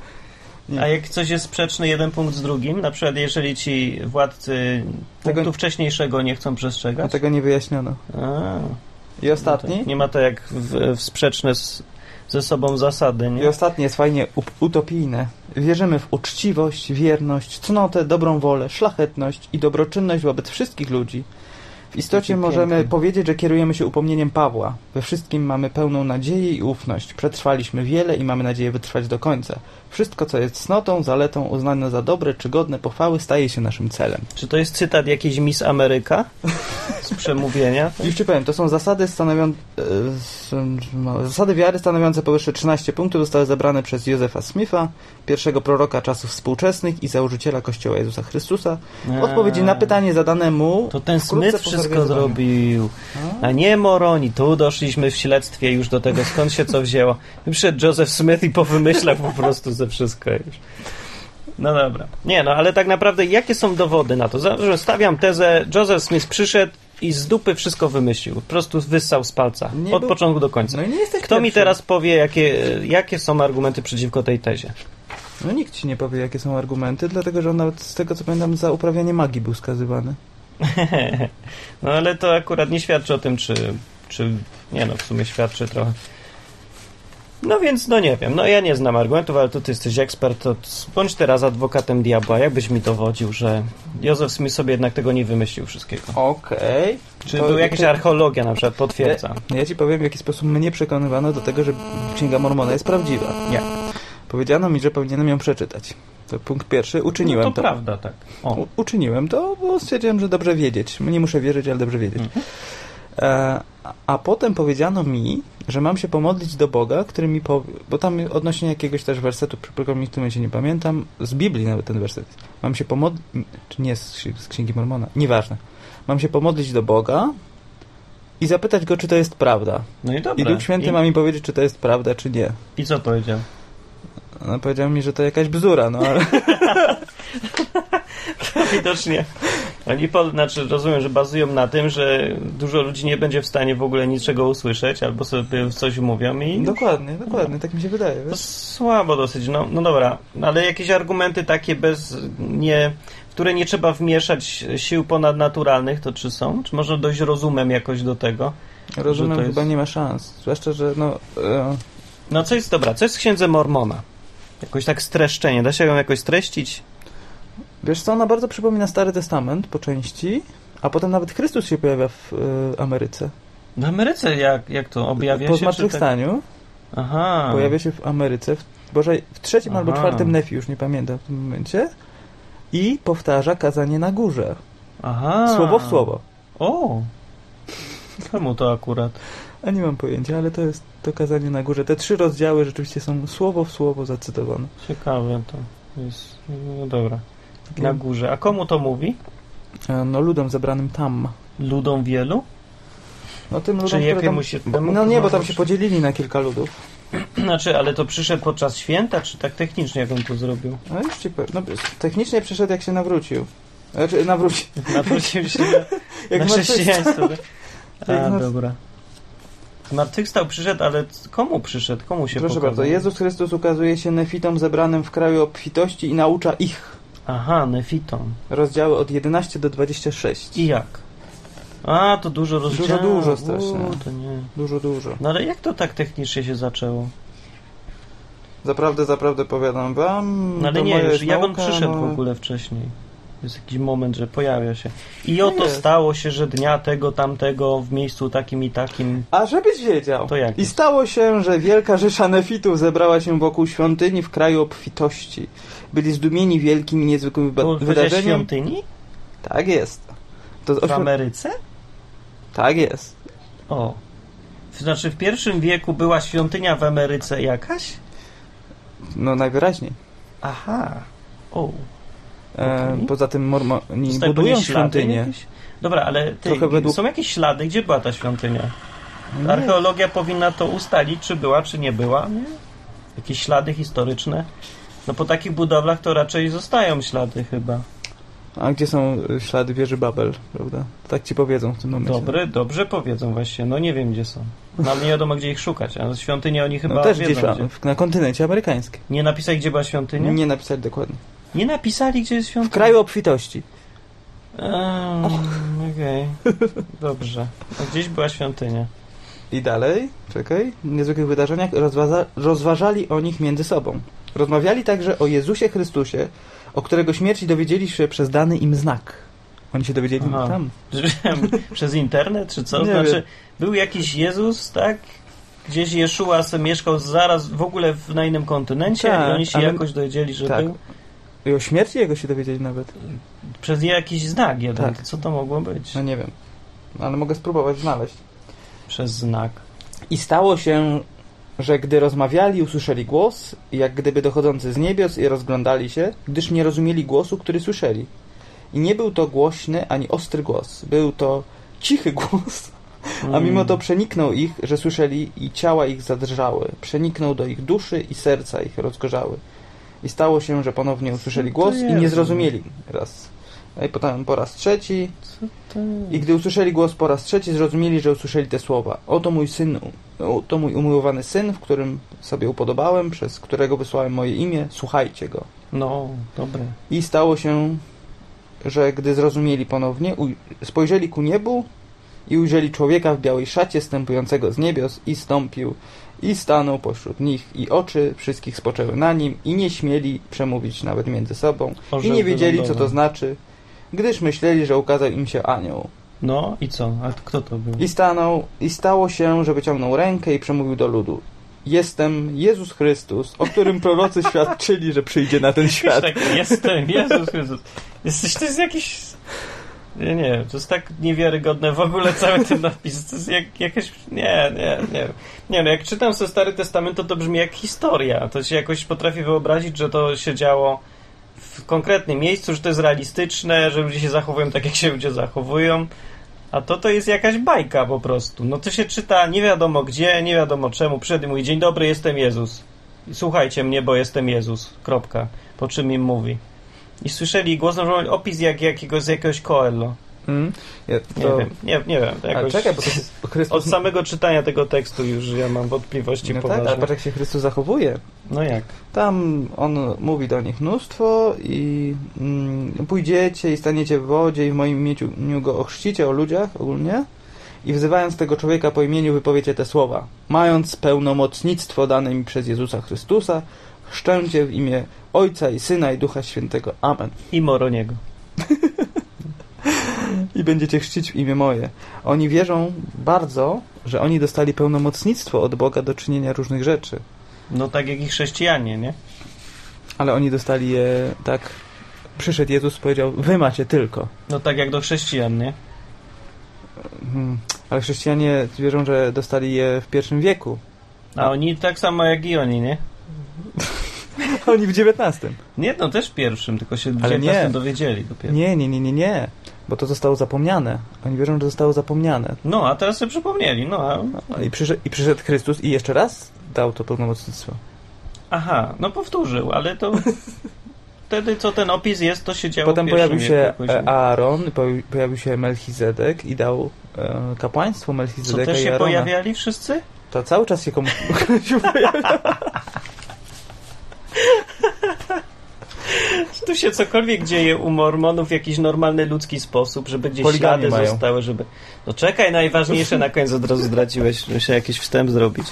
Nie.
A jak coś jest sprzeczne jeden punkt z drugim, na przykład jeżeli ci władcy
Tego-
punktu wcześniejszego nie chcą
A
przestrzegać.
tego nie wyjaśniono.
A,
I ostatni?
Nie ma to jak w, w sprzeczne z, ze sobą zasady,
I
nie?
ostatnie jest fajnie up- utopijne. Wierzymy w uczciwość, wierność, cnotę, dobrą wolę, szlachetność i dobroczynność wobec wszystkich ludzi. W istocie
Jakie
możemy
piękne.
powiedzieć, że kierujemy się upomnieniem Pawła. We wszystkim mamy pełną nadzieję i ufność. Przetrwaliśmy wiele i mamy nadzieję wytrwać do końca. Wszystko, co jest cnotą, zaletą, uznane za dobre czy godne pochwały, staje się naszym celem.
Czy to jest cytat jakiejś Miss Ameryka z przemówienia?
I jeszcze powiem, to są zasady stanowią... e, s- no, Zasady wiary stanowiące powyższe 13 punktów zostały zebrane przez Józefa Smitha, pierwszego proroka czasów współczesnych i założyciela Kościoła Jezusa Chrystusa. W odpowiedzi na pytanie zadane mu...
Eee. To ten
wkrótce
Smith
po
wszystko
zorganizowaniu. Hmm?
zrobił, a nie Moroni. Tu doszliśmy w śledztwie już do tego, skąd się co wzięło. Przyszedł Joseph Smith i powymyślał po prostu ze wszystko już. No dobra. Nie no, ale tak naprawdę jakie są dowody na to? Za- że Stawiam tezę, Joseph Smith przyszedł i z dupy wszystko wymyślił. Po prostu wyssał z palca.
Nie
Od
był-
początku do końca.
No i nie jesteś
Kto mi
pierwszy.
teraz powie, jakie, jakie są argumenty przeciwko tej tezie?
No nikt ci nie powie, jakie są argumenty, dlatego że on nawet z tego, co pamiętam, za uprawianie magii był skazywany.
No ale to akurat nie świadczy o tym, czy, czy. Nie no, w sumie świadczy trochę. No więc, no nie wiem, no ja nie znam argumentów, ale to ty jesteś ekspert, to bądź teraz adwokatem diabła, jakbyś mi dowodził, że Józef Smith sobie jednak tego nie wymyślił wszystkiego.
Okej.
Czy był jakaś archeologia na przykład, potwierdza.
Ja ci powiem, w jaki sposób mnie przekonywano do tego, że Księga Mormona jest prawdziwa.
Nie.
Powiedziano mi, że powinienem ją przeczytać. To punkt pierwszy. Uczyniłem
No to
to.
prawda, tak. O,
U- Uczyniłem to, bo stwierdziłem, że dobrze wiedzieć. Nie muszę wierzyć, ale dobrze wiedzieć.
Hmm.
E, a- a potem powiedziano mi, że mam się pomodlić do Boga, który mi powie, bo tam odnośnie jakiegoś też wersetu, którego mi w tym momencie nie pamiętam, z Biblii nawet ten werset. jest. Mam się pomodlić, czy nie, z, ksi- z Księgi Mormona, nieważne. Mam się pomodlić do Boga i zapytać Go, czy to jest prawda.
no i
I
dobra.
Duch Święty
I,
ma mi powiedzieć, czy to jest prawda, czy nie.
I co powiedział?
No, powiedział mi, że to jakaś bzdura, no ale...
Widocznie Oni po, znaczy rozumiem, że bazują na tym, że dużo ludzi nie będzie w stanie w ogóle niczego usłyszeć, albo sobie coś mówią i
Dokładnie, dokładnie, tak mi się wydaje.
to
Wiesz?
słabo dosyć, no, no dobra, ale jakieś argumenty takie bez, nie, w które nie trzeba wmieszać sił ponadnaturalnych, to czy są? Czy można dojść rozumem jakoś do tego? że
Rozumiem,
to
chyba
jest-
nie ma szans. Zwłaszcza, że no... E,
No co jest, dobra, co jest w Księdze Mormona? Jakoś tak streszczenie, da się ją jakoś streścić?
wiesz co, ona bardzo przypomina Stary Testament po części, a potem nawet Chrystus się pojawia w e, Ameryce.
W Ameryce jak, jak to objawia
po
się? czy tak?
zmartwychwstaniu
Aha.
pojawia się w Ameryce, w, Boże, w trzecim albo
Aha.
czwartym Nefi, już nie pamiętam w tym momencie, i powtarza kazanie na górze.
Aha.
Słowo w słowo.
O! Czemu to akurat?
A nie mam pojęcia, ale to jest to kazanie na górze. Te trzy rozdziały rzeczywiście są słowo w słowo zacytowane.
Ciekawe to jest. No dobra.
Takie,
Na górze. A komu to mówi?
e, No ludom zebranym tam.
Ludom wielu?
No tym ludom,
Czy
które tam...
jakiemuś się
Bo-
temu-
No nie, bo tam się podzielili na kilka ludów.
Znaczy, ale to przyszedł podczas święta, czy tak technicznie jak on to zrobił?
No już ci powiem. No, technicznie przyszedł jak się nawrócił. Znaczy nawrócił.
Nawrócił się na,
Jak
na
martwychwstał.
chrześcijaństwo. tak?
Jak
A,
nas-
dobra. Zmartwychwstał przyszedł, ale c- komu przyszedł? Komu się
Proszę
pokazał?
bardzo, Jezus Chrystus ukazuje się nefitom zebranym w kraju obfitości i naucza ich.
Aha, Nefiton.
Rozdziały od 11 do 26.
I jak? A, to dużo
Dużo,
rozdziałów.
dużo strasznie.
U, to nie.
Dużo, dużo.
No ale jak to tak technicznie się zaczęło?
Zaprawdę, zaprawdę powiadam wam.
No ale
to
nie,
moja
już
jest
jak on
nauka,
przyszedł
no-
w ogóle wcześniej? Jest jakiś moment, że pojawia się. I
No
oto
jest.
stało się, że dnia tego, tamtego, w miejscu takim i takim.
A żebyś wiedział.
To jak?
I stało się, że wielka rzesza nefitów zebrała się wokół świątyni w kraju obfitości. Byli zdumieni wielkim i niezwykłym
Było
wyba-
wydarzeniem...
wydarzeniem.
świątyni?
Tak jest. To z
W
ośmiu...
Ameryce?
Tak jest.
O. Znaczy w pierwszym wieku była świątynia w Ameryce jakaś?
No najwyraźniej.
Aha. O.
E,
Okej.
Poza tym mormoni
Zostały
budują
jakieś ślady
świątynię.
jakieś? Dobra, ale ty,
Trochę według-
są jakieś ślady? Gdzie była ta świątynia?
No Nie.
Archeologia powinna to ustalić, czy była, czy nie była. Nie? Jakieś ślady historyczne. No po takich budowlach to raczej zostają ślady chyba.
A gdzie są y, ślady wieży Babel, prawda? Tak ci powiedzą w tym momencie.
Dobre, dobrze powiedzą właśnie. No nie wiem gdzie są. No ale nie wiadomo gdzie ich szukać, a świątynię oni chyba
no też gdzieś
wiedzą.
na,
Gdzie.
w- na kontynencie amerykańskim.
Nie napisali gdzie była świątynia? Nie.
Nie napisali dokładnie.
napisali gdzie jest
W
świątynia?
kraju obfitości.
Ehm, Okej. Dobrze. A gdzieś była świątynia.
I dalej, czekaj, w niezwykłych wydarzeniach rozwaza- rozważali o nich między sobą. Rozmawiali także o Jezusie Chrystusie, o którego śmierci dowiedzieli się przez dany im znak. Oni się dowiedzieli
Aha.
tam.
Przez internet czy co?
Nie
znaczy,
wiem.
był jakiś Jezus, tak? Gdzieś Jeszua se mieszkał zaraz w ogóle w, na innym kontynencie
Tak,
i oni się
ale-
jakoś dowiedzieli, że
tak.
był
I o śmierci jego się dowiedzieli nawet.
przez jakiś znak jeden.
Tak.
Co to mogło być?
No nie wiem, ale mogę spróbować znaleźć.
Przez znak.
I stało się, że gdy rozmawiali, usłyszeli głos, jak gdyby dochodzący z niebios i rozglądali się, gdyż nie rozumieli głosu, który słyszeli. I nie był to głośny ani ostry głos, był to cichy głos, a
Mm.
mimo to przeniknął ich, że słyszeli i ciała ich zadrżały, przeniknął do ich duszy i serca ich rozgorzały. I stało się, że ponownie usłyszeli
to
głos i nie
Jezu.
zrozumieli raz. No i potem po raz trzeci,
Co to?
i gdy usłyszeli głos po raz trzeci, zrozumieli, że usłyszeli te słowa. Oto mój syn, oto mój umiłowany syn, w którym sobie upodobałem, przez którego wysłałem moje imię, słuchajcie go.
No, dobre.
I stało się, że gdy zrozumieli ponownie, uj- spojrzeli ku niebu i ujrzeli człowieka w białej szacie stępującego z niebios i stąpił i stanął pośród nich i oczy wszystkich spoczęły na nim i nie śmieli przemówić nawet między sobą i
Orzeł
nie wiedzieli, co
wylądował.
to znaczy, gdyż myśleli, że ukazał im się anioł.
No i co? A kto to był?
I, stanął, I stało się, że wyciągnął rękę i przemówił do ludu. Jestem Jezus Chrystus, o którym prorocy świadczyli, że przyjdzie na ten
Jakiś
świat.
tak, jestem, Jezus Chrystus. Jesteś, to jest jakiś... Ja nie wiem, to jest tak niewiarygodne w ogóle cały ten napis. To jest jak, jakaś... Nie, nie, nie. Nie no, jak czytam sobie Stary Testament, to to brzmi jak historia. To się jakoś potrafię wyobrazić, że to się działo w konkretnym miejscu, że to jest realistyczne, że ludzie się zachowują tak, jak się ludzie zachowują. A to to jest jakaś bajka po prostu. No to się czyta nie wiadomo gdzie, nie wiadomo czemu. Przyszedł i mówi, dzień dobry, jestem Jezus. Słuchajcie mnie, bo jestem Jezus. Kropka. Po czym im mówi. I słyszeli głos, no, że opis jak, jakiego, z jakiegoś Coelho.
Mm? Ja,
Nie
to...
wiem, nie, nie wiem.
A,
Jakoś...
czekaj, bo to jest
Od
Chrystus...
samego czytania tego tekstu już ja mam wątpliwości
No tak,
poważne.
ale patrz jak się Chrystus zachowuje.
No jak?
Tam on mówi do nich mnóstwo i mm, pójdziecie i staniecie w wodzie i w moim imieniu go ochrzcicie o ludziach ogólnie i wzywając tego człowieka po imieniu wypowiecie te słowa. Mając pełnomocnictwo dane mi przez Jezusa Chrystusa, chrzczę cię w imię Ojca i Syna i Ducha Świętego. Amen.
I Moroniego.
I będziecie chrzcić w imię moje. Oni wierzą bardzo, że oni dostali pełnomocnictwo od Boga do czynienia różnych rzeczy.
No tak jak i chrześcijanie, nie?
Ale oni dostali je tak. Przyszedł Jezus, powiedział: Wy macie tylko.
No tak jak do chrześcijan, nie?
Mhm. Ale chrześcijanie wierzą, że dostali je w pierwszym wieku. No.
A oni tak samo jak i oni, nie?
A Oni w XIX.
Nie, no też pierwszym, tylko się
Ale nie.
19 dowiedzieli dopiero.
Nie, nie, nie, nie, nie. Bo to zostało zapomniane. Oni wierzą, że zostało zapomniane.
No, a teraz sobie przypomnieli, no a...
A I przyszedł, I przyszedł Chrystus i jeszcze raz dał to pełnomocnictwo.
Aha, no powtórzył, ale to... Wtedy co ten opis jest, to się działo
Potem
w pierwszym
pojawił się
wieku jakoś,
e,
nie?
Aaron, pojawi- pojawił się Melchizedek i dał e, kapłaństwo
Co,
Melchizedeka
też
i
się
Arona.
pojawiali wszyscy?
To cały czas się komuś się pojawia.
Czy tu się cokolwiek dzieje u mormonów w jakiś normalny ludzki sposób, żeby gdzieś
Poligamię
ślady
mają.
zostały, żeby... No czekaj, najważniejsze na koniec od razu zdradziłeś, muszę jakiś wstęp zrobić.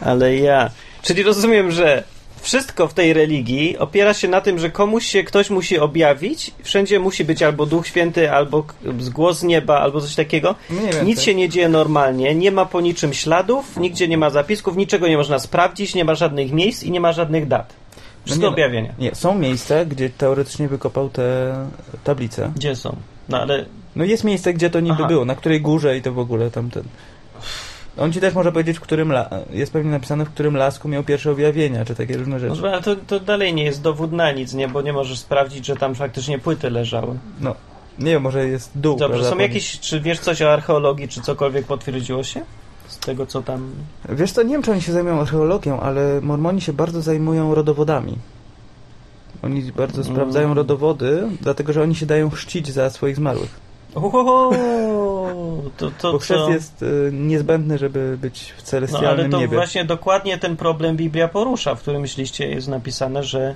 Ale ja... Czyli rozumiem, że wszystko w tej religii opiera się na tym, że komuś się ktoś musi objawić, wszędzie musi być albo Duch Święty, albo k- z głos z nieba, albo coś takiego.
Mniej więcej.
Nic się nie dzieje normalnie, nie ma po niczym śladów, nigdzie nie ma zapisków, niczego nie można sprawdzić, nie ma żadnych miejsc i nie ma żadnych dat. Wszystko
nie no.
objawienia.
Nie, są miejsca, gdzie teoretycznie wykopał te tablice.
Gdzie są? No ale
No jest miejsce, gdzie to niby
Aha.
było, na której górze i to w ogóle tamten. On ci też może powiedzieć, w którym la... jest pewnie napisane, w którym lasku miał pierwsze objawienia, czy takie różne
no,
rzeczy.
ale to, to dalej nie jest dowód na nic, nie? Bo nie możesz sprawdzić, że tam faktycznie płyty leżały.
Nie wiem, może jest dół.
Dobrze,
prawda,
są
po-
jakieś, czy wiesz coś o archeologii, czy cokolwiek potwierdziło się? Z tego co tam.
Wiesz co, nie wiem, czy oni się zajmują archeologią, ale Mormoni się bardzo zajmują rodowodami. Oni bardzo
Mm.
sprawdzają rodowody, dlatego że oni się dają chrzcić za swoich zmarłych.
Ohoho, to, to,
Bo
to,
chrzest jest y, niezbędny, żeby być w
No ale
celestialnym
to
niebie.
właśnie dokładnie ten problem Biblia porusza, w którym liście jest napisane, że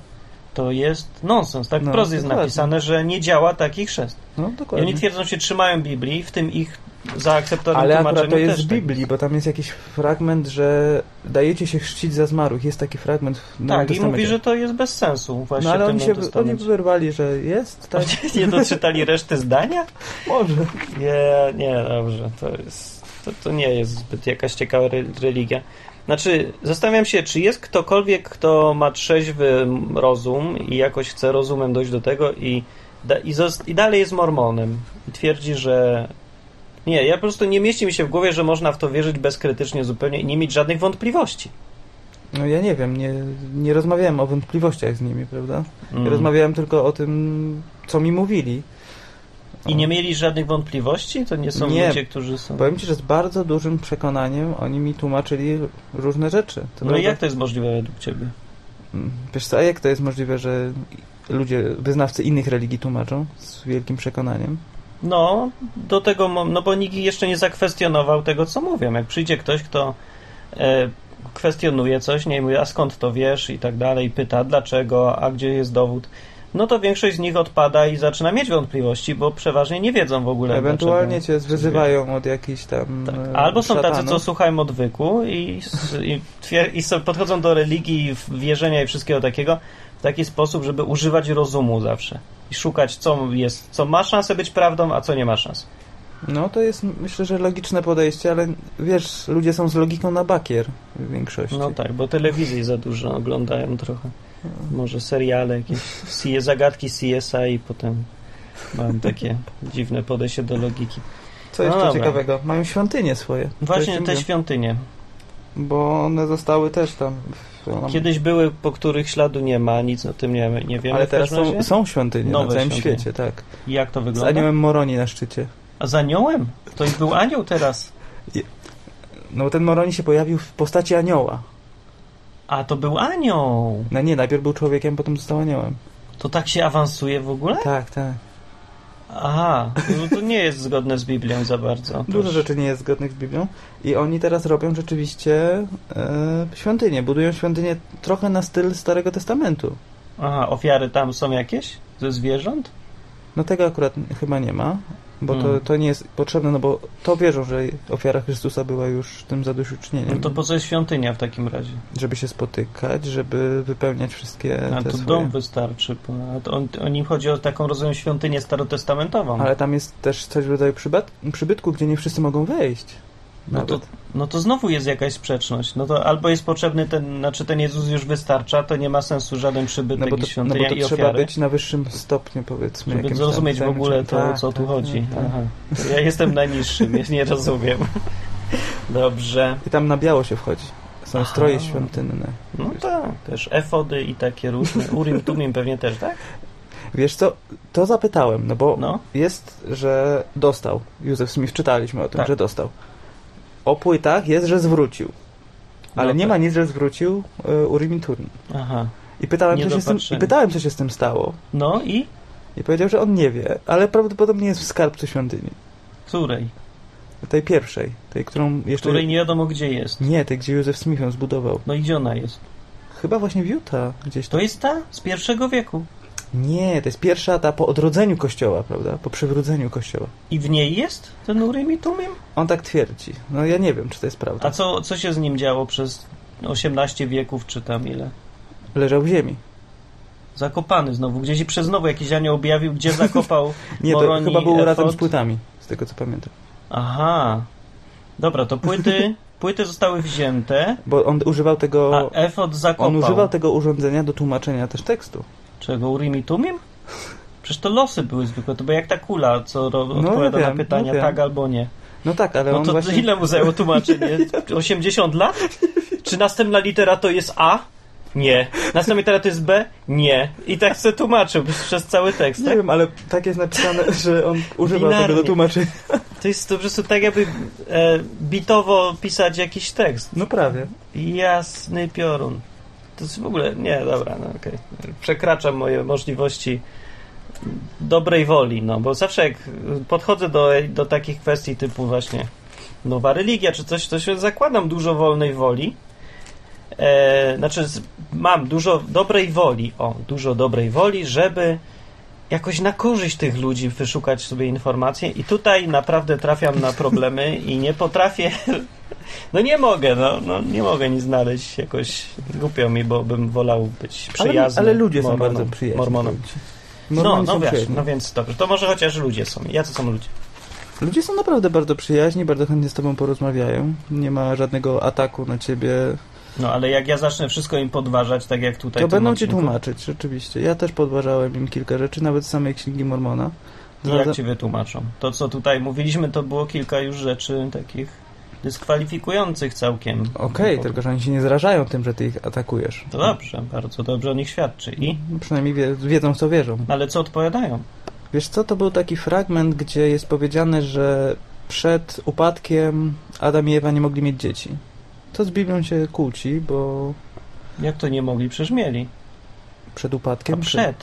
to jest nonsens. Tak
No,
wprost jest
dokładnie.
napisane, że nie działa taki chrzest.
No
I
dokładnie.
oni twierdzą się trzymają Biblii, w tym ich zaakceptowanym
Ale
tłumaczeniu
akurat to jest
też
z
tak.
Biblii, bo tam jest jakiś fragment, że dajecie się chrzcić za zmarłych. Jest taki fragment w Nowym
Tak, i
Testamencie.
mówi, że to jest bez sensu właśnie
No ale
w tym
oni się
Nowym
oni
Testamencie.
wyrwali, że jest, tak?
Nie doczytali reszty zdania?
Może.
Nie, nie, dobrze. To, jest, to, to nie jest zbyt jakaś ciekawa re, religia. Znaczy, zastanawiam się, czy jest ktokolwiek, kto ma trzeźwy rozum i jakoś chce rozumem dojść do tego i, da, i, zos, i dalej jest mormonem i twierdzi, że. Nie, ja po prostu nie mieści mi się w głowie, że można w to wierzyć bezkrytycznie zupełnie i nie mieć żadnych wątpliwości.
No ja nie wiem, nie, nie rozmawiałem o wątpliwościach z nimi, prawda?
Mm.
Ja rozmawiałem tylko o tym, co mi mówili.
I nie mieli żadnych wątpliwości? To nie są
Nie.
ludzie, którzy są. No
Powiem ci, że z bardzo dużym przekonaniem oni mi tłumaczyli różne rzeczy. To
No i
prawda?
jak to jest możliwe według ciebie?
Mm, Wiesz co, a jak to jest możliwe, że ludzie, wyznawcy innych religii tłumaczą z wielkim przekonaniem?
No, do tego, mo- no bo nikt jeszcze nie zakwestionował tego, co mówią. Jak przyjdzie ktoś, kto e, kwestionuje coś, nie mówi, a skąd to wiesz i tak dalej, pyta dlaczego, a gdzie jest dowód, no to większość z nich odpada i zaczyna mieć wątpliwości, bo przeważnie nie wiedzą w ogóle.
Ewentualnie
dlaczego.
cię wyzywają od jakichś tam.
Tak.
e,
Albo są tacy, co
szatanów.
słuchają odwyku i, s- i, twier- i so- podchodzą do religii, w- wierzenia i wszystkiego takiego w taki sposób, żeby używać rozumu zawsze i szukać, co, jest, co ma szansę być prawdą, a co nie ma szans.
No to jest myślę, że logiczne podejście, ale wiesz, ludzie są z logiką na bakier w większości.
No tak, bo telewizji za dużo oglądają trochę.
Hmm.
Może seriale jakieś, CSI, zagadki CSI i potem mają takie dziwne podejście do logiki.
Co
No
jeszcze
dobra.
ciekawego? Mają świątynie swoje. To
Właśnie
jest
te
inne.
świątynie.
Bo one zostały też tam. W, no, tam
Kiedyś były, po których śladu nie ma, nic o tym nie, nie wiemy.
ale
w
teraz
każdym
są,
razie.
są świątynie
Nowe
na całym
świątynie.
świecie, tak.
Jak to
Z
wygląda?
aniołem Moroni na szczycie.
A z aniołem? To już był anioł teraz.
No bo ten Moroni się pojawił w postaci anioła.
A to był anioł!
No nie, najpierw był człowiekiem, potem został aniołem.
To tak się awansuje w ogóle?
Tak, tak.
Aha, no to nie jest zgodne z Biblią za bardzo.
Dużo rzeczy nie jest zgodnych z Biblią. I oni teraz robią rzeczywiście e, świątynię. Budują świątynię trochę na styl Starego Testamentu.
Aha, ofiary tam są jakieś? Ze zwierząt?
No tego akurat chyba nie ma, bo
Hmm.
to, to nie jest potrzebne, no bo to wierzą, że ofiara Chrystusa była już tym
No
zadośćuczynieniem.
to po co jest świątynia w takim razie?
Żeby się spotykać, żeby wypełniać wszystkie
A
te
to
swoje...
dom wystarczy. bo- a to On, o nim chodzi o taką, rozumiem, świątynię starotestamentową.
Ale tam jest też coś w rodzaju przybat- przybytku, gdzie nie wszyscy mogą wejść.
No to,
Nawet.
no to znowu jest jakaś sprzeczność. No to albo jest potrzebny ten, znaczy ten Jezus już wystarcza, to nie ma sensu żaden
no
przybytek
bo
i
to, no bo
świątynia
to
i
trzeba
ofiary.
być na wyższym stopniu, powiedzmy.
Żeby
jakimś
zrozumieć w
tam,
ogóle to,
tak,
o co tu
tak,
chodzi.
tak.
Aha. To Ja jestem na niższym, ja nie rozumiem. Dobrze.
I tam na biało się wchodzi. Są
Aha.
stroje świątynne.
No tak, też efody i takie różne. Urim, tumim pewnie też, tak?
Wiesz co, to zapytałem, no bo
No.
jest, że dostał. Józef Smith czytaliśmy o tym,
Tak.
że dostał. O płytach jest, że zwrócił. Ale
No
nie
tak.
ma nic, że zwrócił y, Urim i Turim.
Aha.
I pytałem,
Nie
co się z tym, I
dopatrzeni.
pytałem, co się z tym stało.
No i
I powiedział, że on nie wie, ale prawdopodobnie jest w skarbcu świątyni.
której?
Tej pierwszej, tej, którą jeszcze...
Której nie wiadomo gdzie jest.
Nie, tej, gdzie Józef Smith ją zbudował.
No i gdzie ona jest?
Chyba właśnie w Utah gdzieś
To
tam.
jest ta z pierwszego wieku. No
Nie, to jest pierwsza ta po odrodzeniu kościoła, prawda? Po przywróceniu kościoła.
I w niej jest ten Urim i Tumim?
On tak twierdzi. No ja nie wiem, czy to jest prawda.
A co, co się z nim działo przez 18 wieków, czy tam ile?
Leżał w ziemi.
Zakopany znowu, gdzieś i przez znowu jakiś anioł objawił, gdzie zakopał.
Nie, to
Moroni,
chyba był razem z
efod.
płytami, z tego co pamiętam.
Aha. Dobra, to płyty, płyty zostały wzięte,
Bo on używał
a
tego.
efod zakopał.
On używał tego urządzenia do tłumaczenia też tekstu.
Czego, Urim i Tumim? Przecież to losy były zwykłe, to była jak ta kula, co ro-
No,
odpowiada
ja wiem,
na pytania,
ja wiem.
tak albo nie.
No tak, ale
No
on
to
właśnie.
ile mu zajęło tłumaczenie? 80 lat? Czy następna litera to jest A? Nie. Następna litera to jest B? Nie. I tak se tłumaczył przez- przez cały tekst,
Nie
tak?
wiem, ale tak jest napisane, że on używał
Binarnie.
tego do tłumaczenia.
To jest to po prostu tak jakby e, bitowo pisać jakiś tekst.
No prawie.
Jasny piorun. To jest w ogóle... Nie, dobra, no okej. Przekraczam moje możliwości dobrej woli, no bo zawsze jak podchodzę do, do takich kwestii typu właśnie nowa religia czy coś, to się zakładam dużo wolnej woli. E, znaczy z, mam dużo dobrej woli, o, dużo dobrej woli, żeby jakoś na korzyść tych ludzi wyszukać sobie informacje i tutaj naprawdę trafiam na problemy i nie potrafię no nie mogę, no, no nie mogę nic znaleźć jakoś głupio mi, bo bym wolał być
Ale,
przyjazny
ale ludzie są
mormonom-
bardzo przyjaźni.
mormonom.
powiem ci.
No,
Mormoni
no
są
wiesz,
przyjaźni.
no więc dobrze. To może chociaż ludzie są. Jacy są ludzie?
Ludzie są naprawdę bardzo przyjaźni, bardzo chętnie z tobą porozmawiają. Nie ma żadnego ataku na ciebie.
No ale jak ja zacznę wszystko im podważać, tak jak tutaj.
To
w tym
będą ci
odcinku,
tłumaczyć, rzeczywiście. Ja też podważałem im kilka rzeczy, nawet z samej księgi Mormona.
to Jak ci wytłumaczą? To co tutaj mówiliśmy, to było kilka już rzeczy takich dyskwalifikujących całkiem.
Okej,
No,
tylko że oni się nie zrażają tym, że ty ich atakujesz.
To dobrze, bardzo dobrze o nich świadczy. I?
No, Przynajmniej wie, wiedzą, co wierzą.
Ale co odpowiadają?
Wiesz co, to był taki fragment, gdzie jest powiedziane, że przed upadkiem Adam i Ewa nie mogli mieć dzieci. To z Biblią się kłóci, bo
Jak to nie mogli? Przecież mieli.
przed
A
upadkiem...
przed.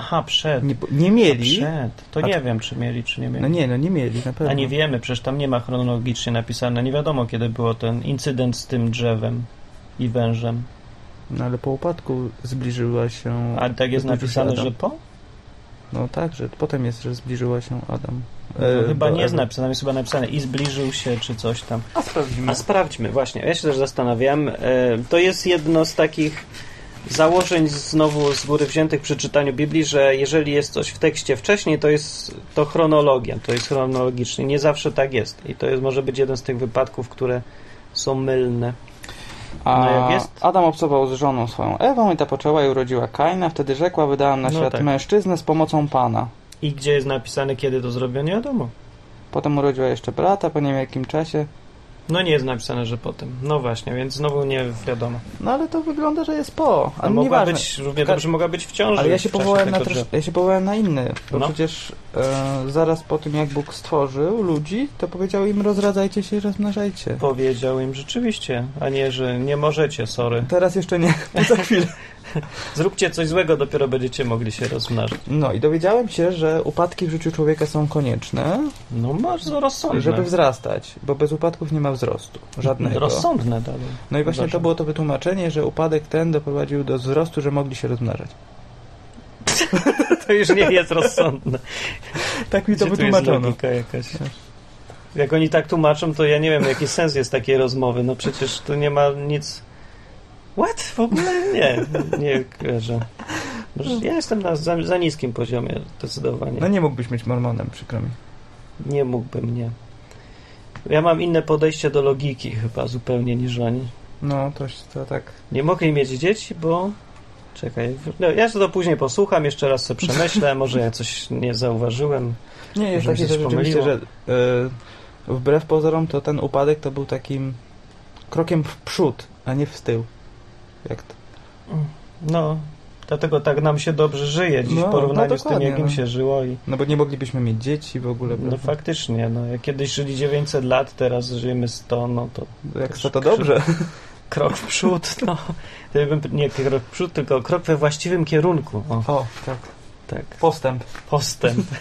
Aha, przed.
Nie, nie
A
mieli.
przed. To
A-
nie wiem, czy mieli, czy nie mieli.
No nie, no nie mieli, na pewno.
A nie wiemy, przecież tam nie ma chronologicznie napisane. Nie wiadomo, kiedy było ten incydent z tym drzewem i wężem.
No ale po upadku zbliżyła się...
A tak jest
zbliżył się
napisane,
Adam.
że po?
No tak, że potem jest, że zbliżyła się Adam.
No,
E,
chyba
do
nie
Ewy.
jest napisane, jest chyba napisane i zbliżył się, czy coś tam.
A sprawdzimy.
A sprawdźmy, właśnie. Ja się też zastanawiam. E, To jest jedno z takich założeń znowu z góry wziętych przy czytaniu Biblii, że jeżeli jest coś w tekście wcześniej, to jest to chronologia, to jest chronologicznie. Nie zawsze tak jest. I to jest, może być jeden z tych wypadków, które są mylne.
A
No jak jest?
Adam obcował z żoną swoją Ewą i ta poczęła i urodziła Kaina. Wtedy rzekła, wydałam na
No
świat
tak.
mężczyznę z pomocą Pana.
I gdzie jest napisane, kiedy to zrobią, nie wiadomo.
Potem urodziła jeszcze brata, po nie wiem jakim czasie.
No nie jest napisane, że potem. No właśnie, więc znowu nie wiadomo.
No ale to wygląda, że jest po.
A
Ale
mogła
nieważne.
być, równie dobrze mogła być w ciąży.
Ale ja się,
w czasie
powołałem na
tego
trosz...
drzewa.
ja się powołałem na inny, bo
No.
przecież e, zaraz po tym, jak Bóg stworzył ludzi, to powiedział im rozradzajcie się i rozmnażajcie.
Powiedział im rzeczywiście, a nie, że nie możecie, sorry.
Teraz jeszcze nie, za chwilę.
Zróbcie coś złego, dopiero będziecie mogli się rozmnażać.
No i dowiedziałem się, że upadki w życiu człowieka są konieczne,
No bardzo rozsądne.
żeby wzrastać, bo bez upadków nie ma wzrostu żadnego.
Rozsądne dalej.
No i właśnie
Dobrze.
to było to wytłumaczenie, że upadek ten doprowadził do wzrostu, że mogli się rozmnażać.
To już nie jest rozsądne.
Tak mi to
Gdzie tu jest
wytłumaczono.
logika jakaś. Jak oni tak tłumaczą, to ja nie wiem, jaki sens jest takiej rozmowy. No przecież tu nie ma nic... What? W ogóle nie. Nie kojarzę. Może Ja jestem na za, za niskim poziomie, zdecydowanie.
No nie mógłbyś być mormonem, przykro mi.
Nie mógłbym, nie. Ja mam inne podejście do logiki chyba zupełnie niż oni.
No, to, to tak.
Nie mogli mieć dzieci, bo. Czekaj, w- no, ja to później posłucham, jeszcze raz sobie przemyślę, może ja coś nie zauważyłem.
Nie, jest
Może mi
takie,
się
że rzeczywiście, że
pomyliło.
y, wbrew pozorom to ten upadek to był takim krokiem w przód, a nie w tył. Jak to?
No, dlatego tak nam się dobrze żyje dziś
No,
w porównaniu
no
z tym, jak
dokładnie,
im
no.
się żyło. I,
No bo nie moglibyśmy mieć dzieci w ogóle.
no
prawda?
faktycznie, no, jak kiedyś żyli 900 lat, teraz żyjemy 100, no to
Jak
też
to, to dobrze.
krok w przód, no. To ja bym- Nie krok w przód, tylko krok we właściwym kierunku. O,
O, tak.
tak.
Postęp.
postęp.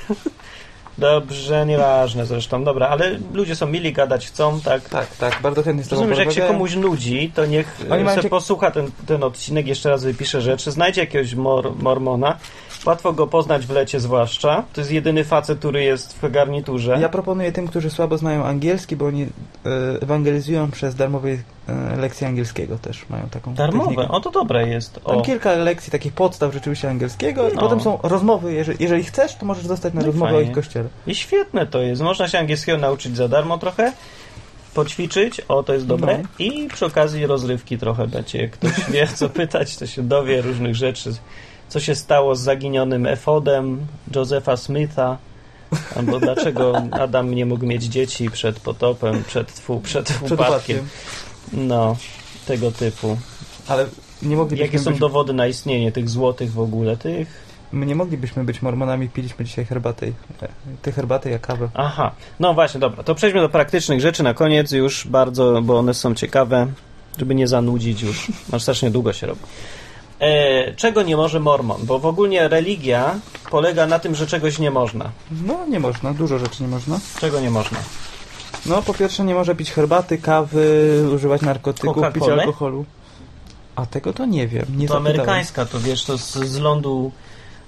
Dobrze, nieważne zresztą, dobra, ale ludzie są mili, gadać chcą, tak?
Tak, tak, bardzo chętnie z tobą
Rozumiem, że jak się
porozmawiałem.
komuś nudzi, to niech e,
Oni mają
se
cię-
posłucha ten, ten odcinek, jeszcze raz wypisze rzeczy, znajdzie jakiegoś mor mormona. Łatwo go poznać w lecie zwłaszcza. To jest jedyny facet, który jest w garniturze.
Ja proponuję tym, którzy słabo znają angielski, bo oni e, ewangelizują przez darmowe e, lekcje angielskiego też mają taką
Darmowe,
technikę.
o to dobre jest.
Tam
O.
kilka lekcji takich podstaw rzeczywiście angielskiego i
No.
potem są rozmowy. Jeżeli, jeżeli chcesz, to możesz zostać na
No i
rozmowę o
fajnie.
ich kościele.
I świetne to jest. Można się angielskiego nauczyć za darmo trochę, poćwiczyć, o to jest dobre.
No.
I przy okazji rozrywki trochę dacie. Jak ktoś wie, co pytać, to się dowie różnych rzeczy. Co się stało z zaginionym efodem Josepha Smitha, albo dlaczego Adam nie mógł mieć dzieci przed potopem, przed, tfu, przed,
Przed
upadkiem.
upadkiem.
No, tego typu.
Ale nie
Jakie
moglibyśmy,
są
być,
dowody na istnienie tych złotych w ogóle? Tych?
my nie moglibyśmy być Mormonami, piliśmy dzisiaj herbaty. i- e, Te herbaty jak kawę.
Aha, no właśnie, dobra. To przejdźmy do praktycznych rzeczy na koniec już bardzo, bo one są ciekawe, żeby nie zanudzić już. Aż strasznie długo się robi. E, czego nie może mormon? Bo w ogóle religia polega na tym, że czegoś nie można.
No nie można, dużo rzeczy nie można.
Czego nie można?
No po pierwsze nie może pić herbaty, kawy, używać narkotyków, pić
Coca-Coli?
alkoholu. A tego to nie wiem, nie
to
zapytałem.
amerykańska, to wiesz, to z, z lądu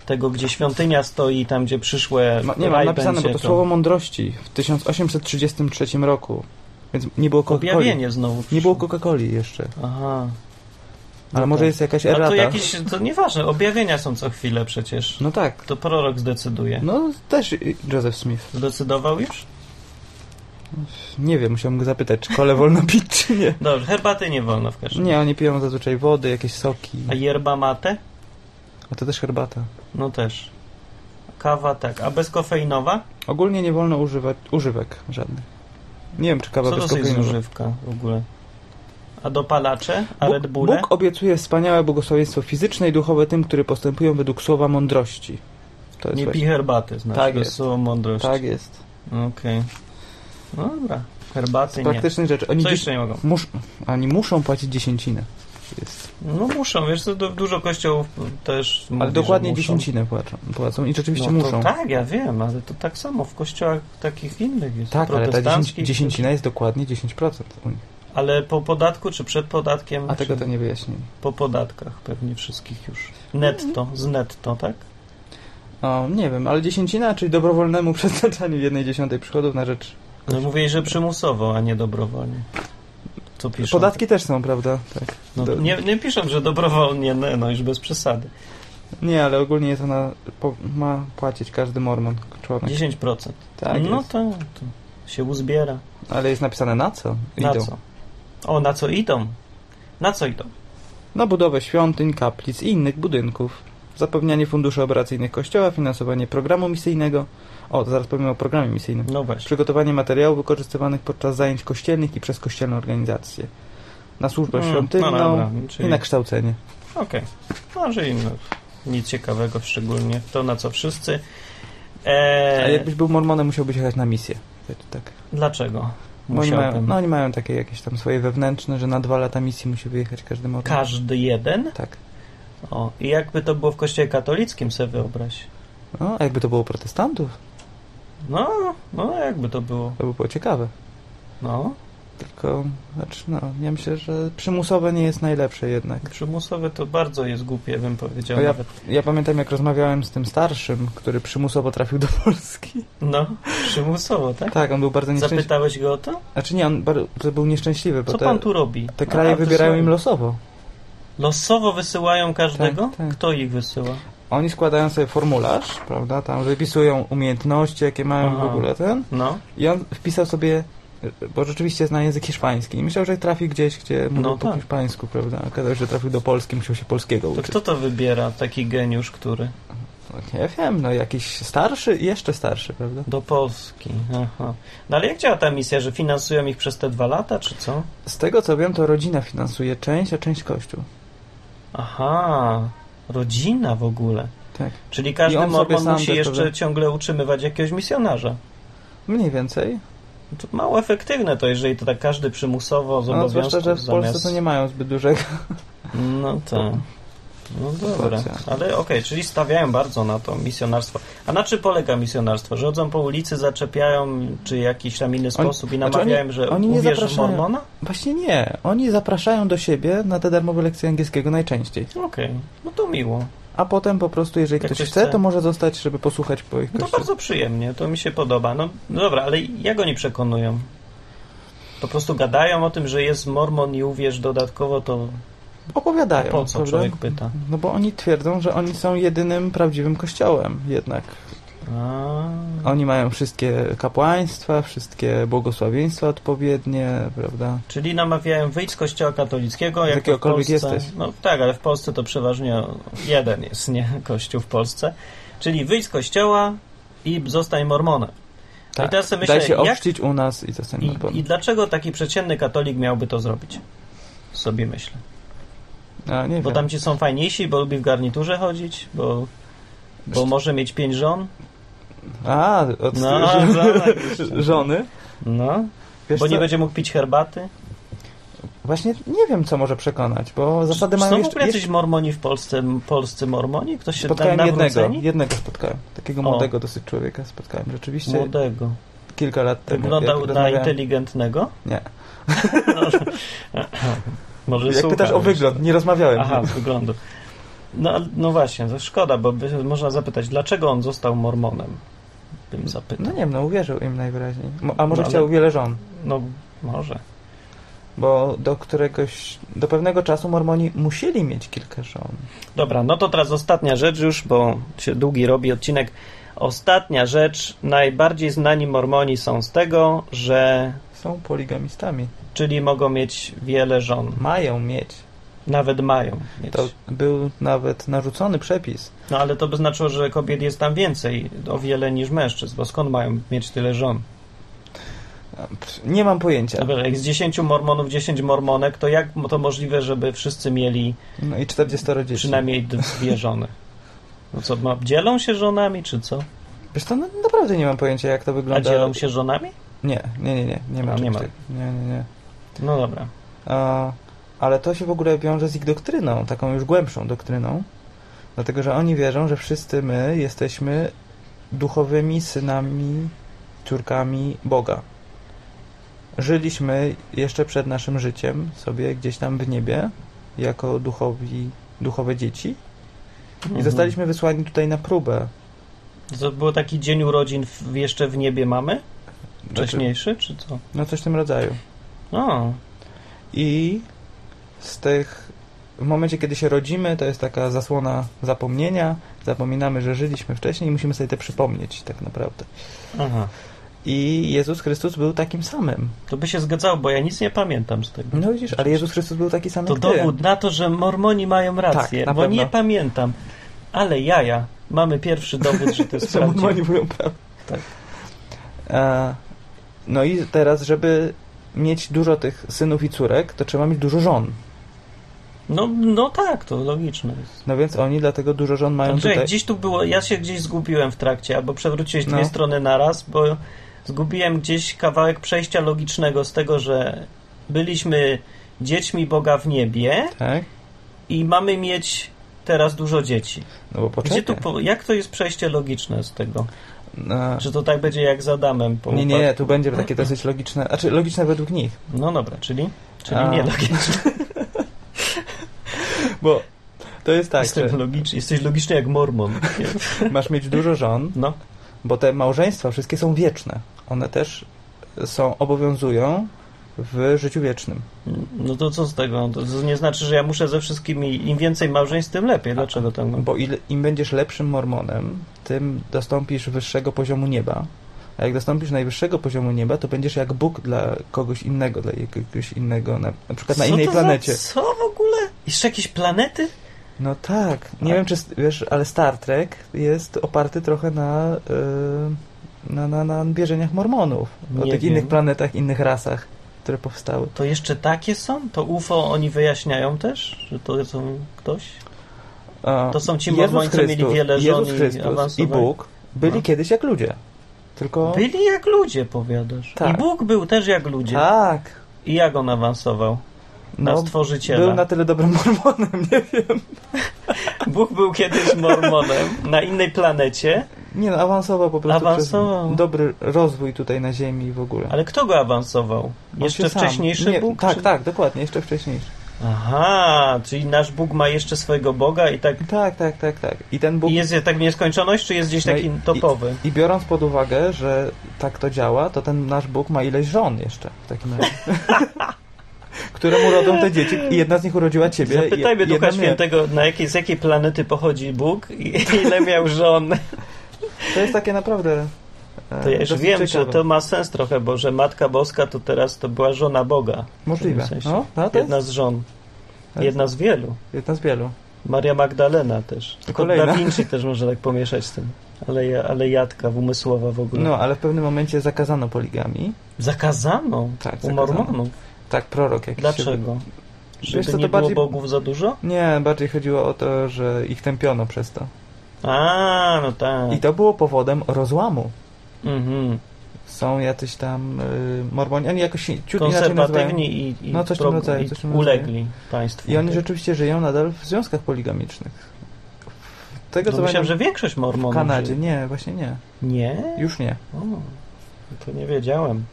tego, gdzie świątynia stoi, tam gdzie przyszłe
Ma, nie mam
raj
napisane, bo
będzie,
to słowo mądrości w 1833 roku. Więc nie było Coca-Coli.
Objawienie znowu.
Nie było
przyszło.
Coca-Coli jeszcze.
Aha.
Ale
No
może
tak.
jest jakaś
A
errata.
to jakieś, to nieważne, objawienia są co chwilę przecież.
No tak.
To prorok zdecyduje.
No też i- Joseph Smith.
Zdecydował już?
Nie wiem, musiałem go zapytać, czy kole wolno pić, czy nie.
Dobrze, herbaty nie wolno w każdym
Nie, oni piją zazwyczaj wody, jakieś soki.
A yerba mate?
A to też herbata.
No też. Kawa tak. A bezkofeinowa?
Ogólnie nie wolno używać używek żadnych. Nie wiem, czy kawa
Co
bez
to jest
kofeiny.
używka w ogóle? A dopalacze? A
Bóg,
Red Bulle?
Bóg obiecuje wspaniałe błogosławieństwo fizyczne i duchowe tym, którzy postępują według słowa mądrości. To jest
Nie
właśnie-
pij herbaty, znaczy.
Tak
to
jest.
słowo mądrość.
Tak jest.
Okej. No dobra. Herbaty nie.
Praktycznych rzeczy. Oni,
Co
dziś-
jeszcze nie mogą?
mus, oni muszą płacić dziesięcinę. Jest.
No muszą, wiesz, co, du- dużo kościołów też mówi,
Ale dokładnie
że muszą.
dziesięcinę płacą, płacą i
no,
rzeczywiście
to
muszą.
Tak, ja wiem, ale to tak samo w kościołach takich innych jest.
Tak, ale ta dziesięci,
protestanckich,
dziesięcina jest dokładnie 10% u nich.
Ale po podatku czy przed podatkiem?
A tego
czy...
to nie wyjaśnili.
Po podatkach pewnie wszystkich już. Netto, z netto, tak?
O, No, nie wiem, ale dziesięcina, czyli dobrowolnemu przeznaczaniu jednej dziesiątej przychodów na rzecz...
No mówię, że przymusowo, a nie dobrowolnie. Co piszą?
Podatki też są, prawda? Tak.
No,
do-
nie, nie piszą, że dobrowolnie, no, no już bez przesady.
Nie, ale ogólnie jest ona... Po, ma płacić każdy mormon, człowiek.
10%.
Tak
no
jest.
to, to się uzbiera.
Ale jest napisane na co
Na
idą.
co? O, na co idą? Na co idą?
Na budowę świątyń, kaplic i innych budynków. Zapewnianie funduszy operacyjnych kościoła, finansowanie programu misyjnego. O, zaraz powiem o programie misyjnym.
No właśnie.
Przygotowanie materiałów wykorzystywanych podczas zajęć kościelnych i przez kościelne organizacje. Na służbę
Mm,
świątynną
no dobra,
i
czyli-
na kształcenie.
Okej. No, że im no, nic ciekawego szczególnie. To, na co wszyscy.
A jakbyś był mormonem, musiałbyś jechać na misję. Tak, Tak.
Dlaczego?
Bo oni mają,
Musiałbym.
no oni mają takie jakieś tam swoje wewnętrzne, że na dwa lata misji musi wyjechać każdy mormon.
Każdy jeden?
Tak.
O, i jakby to było w kościele katolickim, sobie wyobraź.
No, a jakby to było protestantów,
No, no jakby to było.
to by było ciekawe.
No,
Tylko, znaczy, no, ja myślę, że przymusowe nie jest najlepsze jednak.
przymusowe to bardzo jest głupie, bym powiedział
O,
nawet.
Ja pamiętam, jak rozmawiałem z tym starszym, który przymusowo trafił do Polski.
No, przymusowo, tak?
Tak, on był bardzo nieszczęśliwy.
Zapytałeś go o to?
Znaczy nie, on bar- to był nieszczęśliwy, bo
Co
te,
pan tu robi?
te kraje
A,
wybierają
wysyłają-
im losowo.
Losowo wysyłają każdego?
Tak, tak.
Kto ich wysyła?
Oni składają sobie formularz, prawda, tam wypisują umiejętności, jakie mają w
Aha.
ogóle ten.
No,
I on wpisał sobie, bo rzeczywiście zna język hiszpański. I myślał, że trafi gdzieś, gdzie mówił
No
po
tak.
hiszpańsku, prawda. Okazało się, że trafił do Polski, musiał się polskiego
to
uczyć.
kto to wybiera? Taki geniusz, który?
Ja wiem, no jakiś starszy i jeszcze starszy, prawda.
Do Polski. Aha. No ale jak działa ta misja, że finansują ich przez te dwa lata, czy co?
Z tego co wiem, to rodzina finansuje część, a część kościół.
Aha, rodzina w ogóle.
Tak.
Czyli
I
każdy
on sobie
mormon
sam
musi
też
jeszcze
powie-
ciągle utrzymywać jakiegoś misjonarza.
Mniej więcej.
To mało efektywne to, jeżeli to tak każdy przymusowo
No,
zobowiązuje.
zwłaszcza, że w Polsce to nie mają zbyt dużego.
No tak. No dobra,
Proporcja.
ale okej, czyli stawiają bardzo na to misjonarstwo. A na czym polega misjonarstwo? Że chodzą po ulicy, zaczepiają, czy jakiś tam inny sposób i
znaczy
namawiają,
oni-
że
oni nie
uwierzy w
zapraszają.
mormona?
Właśnie nie. Oni zapraszają do siebie na te darmowe lekcje angielskiego najczęściej.
Okej, no to miło.
A potem po prostu, jeżeli
Jak
ktoś
ktoś
chce,
chce.
to może zostać, żeby posłuchać po ich
No to
kościele.
bardzo przyjemnie, to mi się podoba. No dobra, ale jak oni przekonują? Po prostu gadają o tym, że jest mormon i uwierz dodatkowo, to
Opowiadają,
po co
prawda?
człowiek pyta?
No bo oni twierdzą, że oni są jedynym prawdziwym kościołem jednak.
A,
Oni mają wszystkie kapłaństwa, wszystkie błogosławieństwa odpowiednie, prawda?
czyli namawiają wyjść z kościoła katolickiego,
Z
jak to w
jakiegokolwiek
Polsce.
jesteś.
No tak, ale w Polsce to przeważnie jeden jest, nie? Kościół w Polsce. Czyli wyjdź z kościoła i zostań mormonem.
Tak.
I teraz sobie
Daj
myślę,
się
jak
ochrzcić u nas i zostań
i,
mormonem.
i dlaczego taki przeciętny katolik miałby to zrobić? Sobie myślę.
A, nie
Bo
wiem.
tam ci są fajniejsi, bo lubi w garniturze chodzić, bo, bo może mieć pięć żon.
A, od
No,
ż- żony?
no.
Wiesz
bo nie
co?
będzie mógł pić herbaty.
Właśnie nie wiem, co może przekonać, bo zasady
Czy
mają
są w
jeszcze...
ogóle jacyś
jeszcze...
mormoni w Polsce, polscy mormoni? Ktoś się tam
Spotkałem jednego,
nawróceni?
jednego spotkałem. Takiego
O.
młodego dosyć człowieka spotkałem. Rzeczywiście
Młodego.
kilka lat temu.
Wyglądał
jak
na
rozmawiałem-
inteligentnego?
Nie.
No, Może
Jak
słucha,
pytasz o
wiesz.
wygląd, nie rozmawiałem.
Aha, z wyglądu. No, no właśnie, to szkoda, bo by, można zapytać, dlaczego on został mormonem? Bym zapytał.
No nie wiem, no uwierzył im najwyraźniej. Mo- A może
No, ale-
chciał wiele żon,
No, może.
bo do któregoś, do pewnego czasu Mormoni musieli mieć kilka żon.
Dobra, no to teraz ostatnia rzecz już, bo się długi robi odcinek. Ostatnia rzecz. Najbardziej znani mormoni są z tego, że
Są poligamistami.
czyli mogą mieć wiele żon.
Mają mieć.
Nawet mają mieć.
To był nawet narzucony przepis.
No ale to by znaczyło, że kobiet jest tam więcej o wiele niż mężczyzn, bo skąd mają mieć tyle żon?
A, pff, Nie mam pojęcia.
Dobra, jak z 10 mormonów 10 mormonek, to jak to możliwe, żeby wszyscy mieli
No i 40 dzieci.
przynajmniej dwie żony? No co, ma, dzielą się żonami, czy co?
Wiesz co, no, naprawdę nie mam pojęcia, jak to
A
wygląda.
dzielą się żonami?
Nie, nie, nie, nie. Nie ma.
A, nie
czegoś
ma.
takiego. nie, nie. nie.
No dobra.
A, ale to się w ogóle wiąże z ich doktryną, taką już głębszą doktryną. Dlatego, że oni wierzą, że wszyscy my jesteśmy duchowymi synami, córkami Boga. Żyliśmy jeszcze przed naszym życiem sobie gdzieś tam w niebie jako duchowi, duchowe dzieci i
Mhm.
zostaliśmy wysłani tutaj na próbę.
To był taki dzień urodzin w, jeszcze w niebie mamy?
Znaczy,
Wcześniejszy, czy co?
No coś w tym rodzaju.
O,
I z tych. W momencie, kiedy się rodzimy, to jest taka zasłona zapomnienia. Zapominamy, że żyliśmy wcześniej i musimy sobie to przypomnieć, tak naprawdę.
aha.
I Jezus Chrystus był takim samym.
To by się zgadzało, bo ja nic nie pamiętam z tego.
No widzisz, ale Jezus Chrystus był taki sam
To
jak ty.
dowód na to, że Mormoni mają rację,
No, Tak, na
bo
pewno.
nie pamiętam. Ale jaja, mamy pierwszy dowód, że to jest
Czemu oni
prawdziwe.
mówią prawdę?
Tak.
E, no i teraz, żeby mieć dużo tych synów i córek, to trzeba mieć dużo żon.
No, no tak, to logiczne. jest.
No więc oni dlatego dużo żon mają
Andrzej,
tutaj.
gdzieś tu było, ja się gdzieś zgubiłem w trakcie, albo przewróciłeś dwie
No.
strony naraz, bo zgubiłem gdzieś kawałek przejścia logicznego z tego, że byliśmy dziećmi Boga w niebie
Tak?
i mamy mieć teraz dużo dzieci.
No bo
Gdzie tu,
poczekaj.
po- jak to jest przejście logiczne z tego?
No.
Czy to tak będzie jak z Adamem? Po
Nie, nie,
upadku?
tu będzie takie dosyć logiczne, znaczy logiczne według nich,
No dobra, czyli? Czyli
A,
nie logiczne.
bo to jest tak,
Jestem
że
logiczny, jesteś logiczny jak Mormon.
masz mieć dużo żon,
No,
bo te małżeństwa wszystkie są wieczne. One też są, obowiązują w życiu wiecznym.
no to co z tego? To nie znaczy, że ja muszę ze wszystkimi, im więcej małżeństw, tym lepiej. Dlaczego tak?
Bo ile, im będziesz lepszym mormonem, tym dostąpisz wyższego poziomu nieba. A jak dostąpisz najwyższego poziomu nieba, to będziesz jak Bóg dla kogoś innego, dla jakiegoś innego, na, na przykład na
Co
innej
to
planecie.
Za, co w ogóle? Jeszcze jakieś planety?
No tak, nie
Tak.
wiem czy s- wiesz, ale Star Trek jest oparty trochę na, y, na, na, na bierzeniach mormonów, o
Nie
tych
wiem.
innych planetach, innych rasach, które powstały.
To jeszcze takie są? To UFO oni wyjaśniają też? Że to są ktoś?
A,
To są ci
Jezus
mormoni, co mieli
Chrystus-
wiele żon
Jezus
i
Chrystus i
awansowali.
Bóg byli
No.
kiedyś jak ludzie, tylko...
Byli jak ludzie, powiadasz.
Tak.
I Bóg był też jak ludzie.
Tak,
I jak on awansował? Na
no,
stworzyciela.
był na tyle dobrym mormonem, nie wiem.
Bóg był kiedyś mormonem na innej planecie,
Nie no, awansował po prostu
Awansował.
przez dobry rozwój tutaj na Ziemi i w ogóle.
ale kto go awansował?
On
Jeszcze
się sam-
wcześniejszy
nie,
Bóg?
Tak,
czy-
tak, dokładnie, jeszcze wcześniejszy.
Aha, czyli nasz Bóg ma jeszcze swojego Boga i tak
Tak, tak, tak, tak. I ten Bóg
i jest tak w nieskończoność, czy jest gdzieś
No
taki
i-
topowy?
I biorąc pod uwagę, że tak to działa, to ten nasz Bóg ma ileś żon jeszcze w takim razie. Któremu rodzą te dzieci i jedna z nich urodziła ciebie. i-
Zapytajmy
i
Ducha
jedna mnie.
Świętego, na jakiej, z jakiej planety pochodzi Bóg i ile miał żon.
To jest takie naprawdę. e,
To ja już
dosyć
wiem, że
ciekawe.
to ma sens trochę, bo że Matka Boska to teraz to była żona Boga.
Możliwe.
w sensie.
No, no, to jest
Jedna z żon.
to jest-
Jedna z wielu.
jedna z wielu.
Maria Magdalena też. Tylko
Kolejna.
Da Vinci też może tak pomieszać z tym. Ale, ja- ale jadka w umysłowa w ogóle.
No, ale w pewnym momencie zakazano poligami.
Zakazano
Tak,
u
zakazano.
mormonów.
Tak, prorok jakiś. się-
Dlaczego? Żeby
Wiesz co, to
nie było
bardziej-
bogów za dużo?
Nie, bardziej chodziło o to, że ich tępiono przez to.
A, no tak.
I to było powodem rozłamu.
Mhm.
Są jacyś tam y, mormoni, oni jakoś się ciut inaczej nazywają.
Konserwatywni i, i,
No, coś w tym
prog-
rodzaju,
i
coś w tym
ulegli państwu.
I oni
Tak.
rzeczywiście żyją nadal w związkach poligamicznych. Tego
No
co
myślałem,
pamiętam
że większość
w
Mormonów.
Kanadzie,
żyje.
nie, właśnie nie.
Nie?
Już nie.
O, to nie wiedziałem.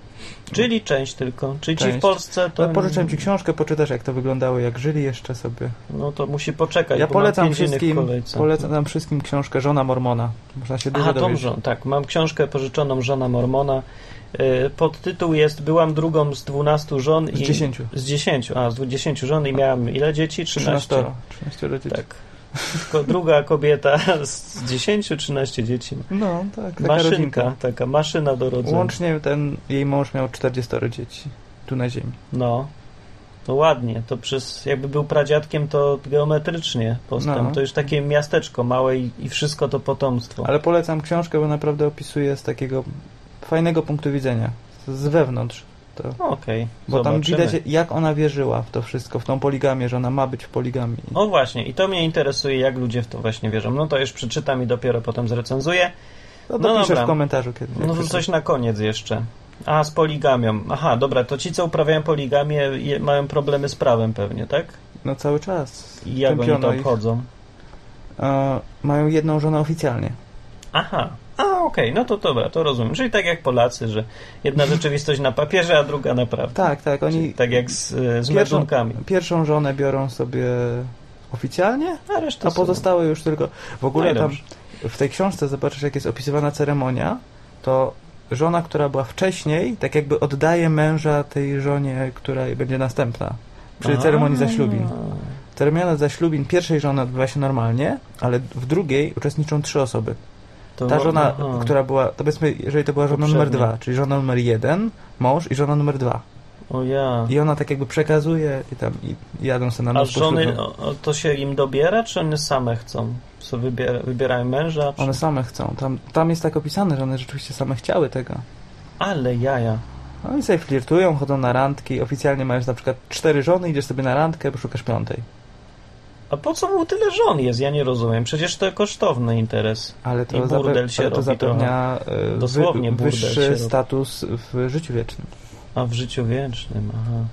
Czyli część tylko. Czyli ci w
Część.
Polsce to.
To pożyczam ci książkę, poczytasz jak to wyglądało, jak żyli jeszcze sobie.
No to musi poczekać.
Ja
bo mam
polecam
pięć innych w
wszystkim,
kolejce.
polecam nam wszystkim książkę Żona Mormona. Można się dużo
Aha, tą
dowiedzieć.
żon, tak. Mam książkę pożyczoną żona Mormona. Y, Podtytuł jest Byłam drugą z 12 żon
Z
i.
dziesięciu.
Z 10, a z 10 żon i miałam ile dzieci? 13.
13. 13 dzieci.
Tak. Tylko druga kobieta z 10, 13 dzieci.
No, tak, taka
Maszynka,
rodzinka.
taka maszyna do rodzenia.
Łącznie ten jej mąż miał 40 dzieci. Tu na ziemi.
No. To ładnie, to przez, jakby był pradziadkiem, to geometrycznie postęp.
No.
To już takie miasteczko małe i, i wszystko to potomstwo.
Ale polecam książkę, bo naprawdę opisuje z takiego fajnego punktu widzenia. Z wewnątrz. To
No, Okej,
Bo tam
zobaczymy.
widać, jak ona wierzyła w to wszystko, w tą poligamię, że ona ma być w poligami.
O No właśnie, i to mnie interesuje, jak ludzie w to właśnie wierzą. No to już przeczytam i dopiero potem zrecenzuję.
No
no
to piszesz
dobra.
w komentarzu kiedy. jak
No to
chcesz.
coś na koniec jeszcze. A, z poligamią. Aha, dobra, to ci, co uprawiają poligamię, je, mają problemy z prawem pewnie, tak?
No cały czas.
I jak oni
Tępiono
to
ich.
obchodzą?
E, mają jedną żonę oficjalnie.
Aha, a okej, no to dobra, to rozumiem. Czyli tak jak Polacy, że jedna rzeczywistość na papierze, a druga naprawdę.
Tak, tak,
Czyli
oni
tak jak z, e, z
Pierwszą-
meldunkami.
pierwszą żonę biorą sobie oficjalnie,
A reszta
a pozostałe już tylko... W ogóle
No i
tam
dobrze.
w tej książce zobaczysz, jak jest opisywana ceremonia, to żona, która była wcześniej, tak jakby oddaje męża tej żonie, która będzie następna przy
A.
ceremonii zaślubin. Ceremonia zaślubin pierwszej żony odbywa się normalnie, ale w drugiej uczestniczą trzy osoby.
To
Ta żona,
aha.
która była, to powiedzmy, jeżeli to była żona numer
No, Poprzednia.
dwa, czyli żona numer jeden, mąż i żona numer dwa.
O ja.
I ona tak jakby przekazuje i tam i jadą sobie na
No. A
noc
żony,
poślubną.
o, o, to się im dobiera, czy one same chcą? Co wybiera, wybierają męża? Czy...
One same chcą. Tam, tam jest tak opisane, że one rzeczywiście same chciały tego.
Ale jaja.
No i sobie flirtują, chodzą na randki. Oficjalnie masz na przykład cztery żony, idziesz sobie na randkę, bo szukasz piątej.
A po co mu tyle żon jest? Ja nie rozumiem. Przecież to kosztowny interes.
Ale to,
I
zape-
burdel się
ale to
robi
zapewnia e, wy-
Dosłownie burdel się
wyższy
robi.
status w życiu wiecznym.
A w życiu wiecznym, aha.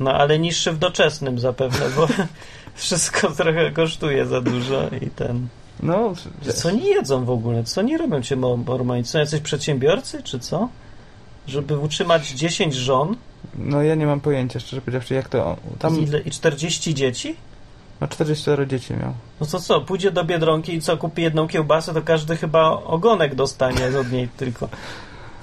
No ale niższy w doczesnym zapewne, bo wszystko trochę kosztuje za dużo i ten.
No, wiesz,
Co oni jedzą w ogóle? Co nie robią ci mor- mormoni? Są jacyś przedsiębiorcy, czy co? Żeby utrzymać 10 żon
no ja nie mam pojęcia, szczerze powiedziawszy, jak to...
i,
Tam
ile, i 40 dzieci?
no, 44 dzieci miał.
No to co, pójdzie do Biedronki i co, kupi jedną kiełbasę, to każdy chyba ogonek dostanie od niej tylko.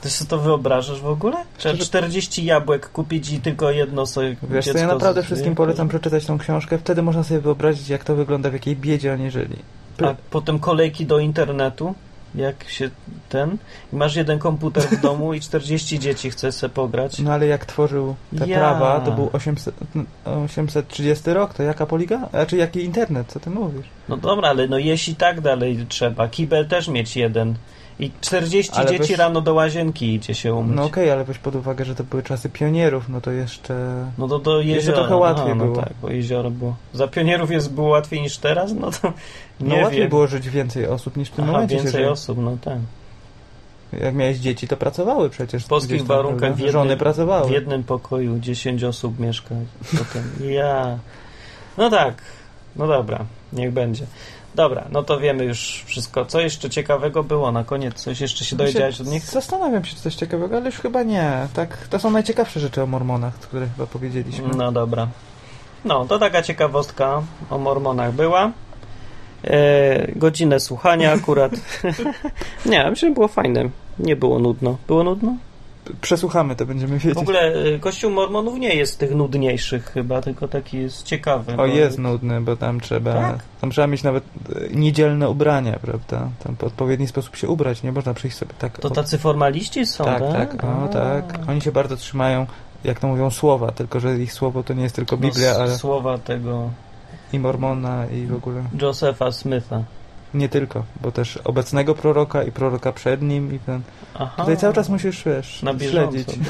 Ty sobie to wyobrażasz w ogóle? Trzeba
Szczerze-
40 jabłek kupić i tylko jedno sobie
Wiesz co, ja
dziecko
naprawdę
zje?
wszystkim polecam przeczytać tą książkę, wtedy można sobie wyobrazić, jak to wygląda, w jakiej biedzie oni żyli.
A potem kolejki do internetu, jak się ten. I masz jeden komputer w domu i 40 dzieci chce se pograć.
No ale jak tworzył te
Ja.
prawa, to był 800, 830 rok, to jaka poliga? Znaczy jaki internet, co ty mówisz?
No dobra, ale no jeśli tak dalej trzeba. Kibel też mieć jeden. I 40
Ale
dzieci
weź-
rano do łazienki idzie się umyć.
No
No,
okej, ale weź pod uwagę, że to były czasy pionierów, no to jeszcze...
to do
Jeszcze
jeziora.
trochę łatwiej
no,
było.
No tak, bo jezioro było. Za pionierów jest było łatwiej niż teraz? No to nie
No łatwiej
wiem.
było żyć więcej osób niż w tym
Aha,
momencie się
więcej
żyje.
osób, no tak.
Jak miałeś dzieci, to pracowały przecież.
W polskich
gdzieś tam,
warunkach
prawda?
w jednym-
Żony pracowały.
W jednym pokoju 10 osób mieszka. Potem ja. No tak, no dobra, niech będzie. Dobra, no to wiemy już wszystko. Co jeszcze ciekawego było na koniec? Coś jeszcze
Znaczy,
się dowiedziałeś od nich?
Zastanawiam się, czy coś ciekawego, ale już chyba nie. Tak, to są najciekawsze rzeczy o mormonach, które chyba powiedzieliśmy.
No dobra. No, to taka ciekawostka o mormonach była. E, godzinę słuchania akurat. nie, myślę, że było fajne. Nie było nudno. Było nudno?
Przesłuchamy, to będziemy wiedzieć.
W ogóle e, Kościół Mormonów nie jest z tych nudniejszych chyba, tylko taki jest ciekawy.
O,
bo-
jest nudny, bo tam trzeba,
Tak.
tam trzeba mieć nawet e, niedzielne ubrania, prawda? Tam w odpowiedni sposób się ubrać, nie można przyjść sobie tak...
To
o-
tacy formaliści są,
tak,
tak?
tak,
A.
no tak. Oni się bardzo trzymają, jak to mówią, słowa, tylko że ich słowo to nie jest tylko Biblia,
No, s-
ale
Słowa tego
i Mormona i w ogóle...
Josepha Smitha.
Nie tylko, bo też obecnego proroka i proroka przed nim i ten...
Aha.
Tutaj cały czas musisz, wiesz,
na bieżąco
śledzić.
być.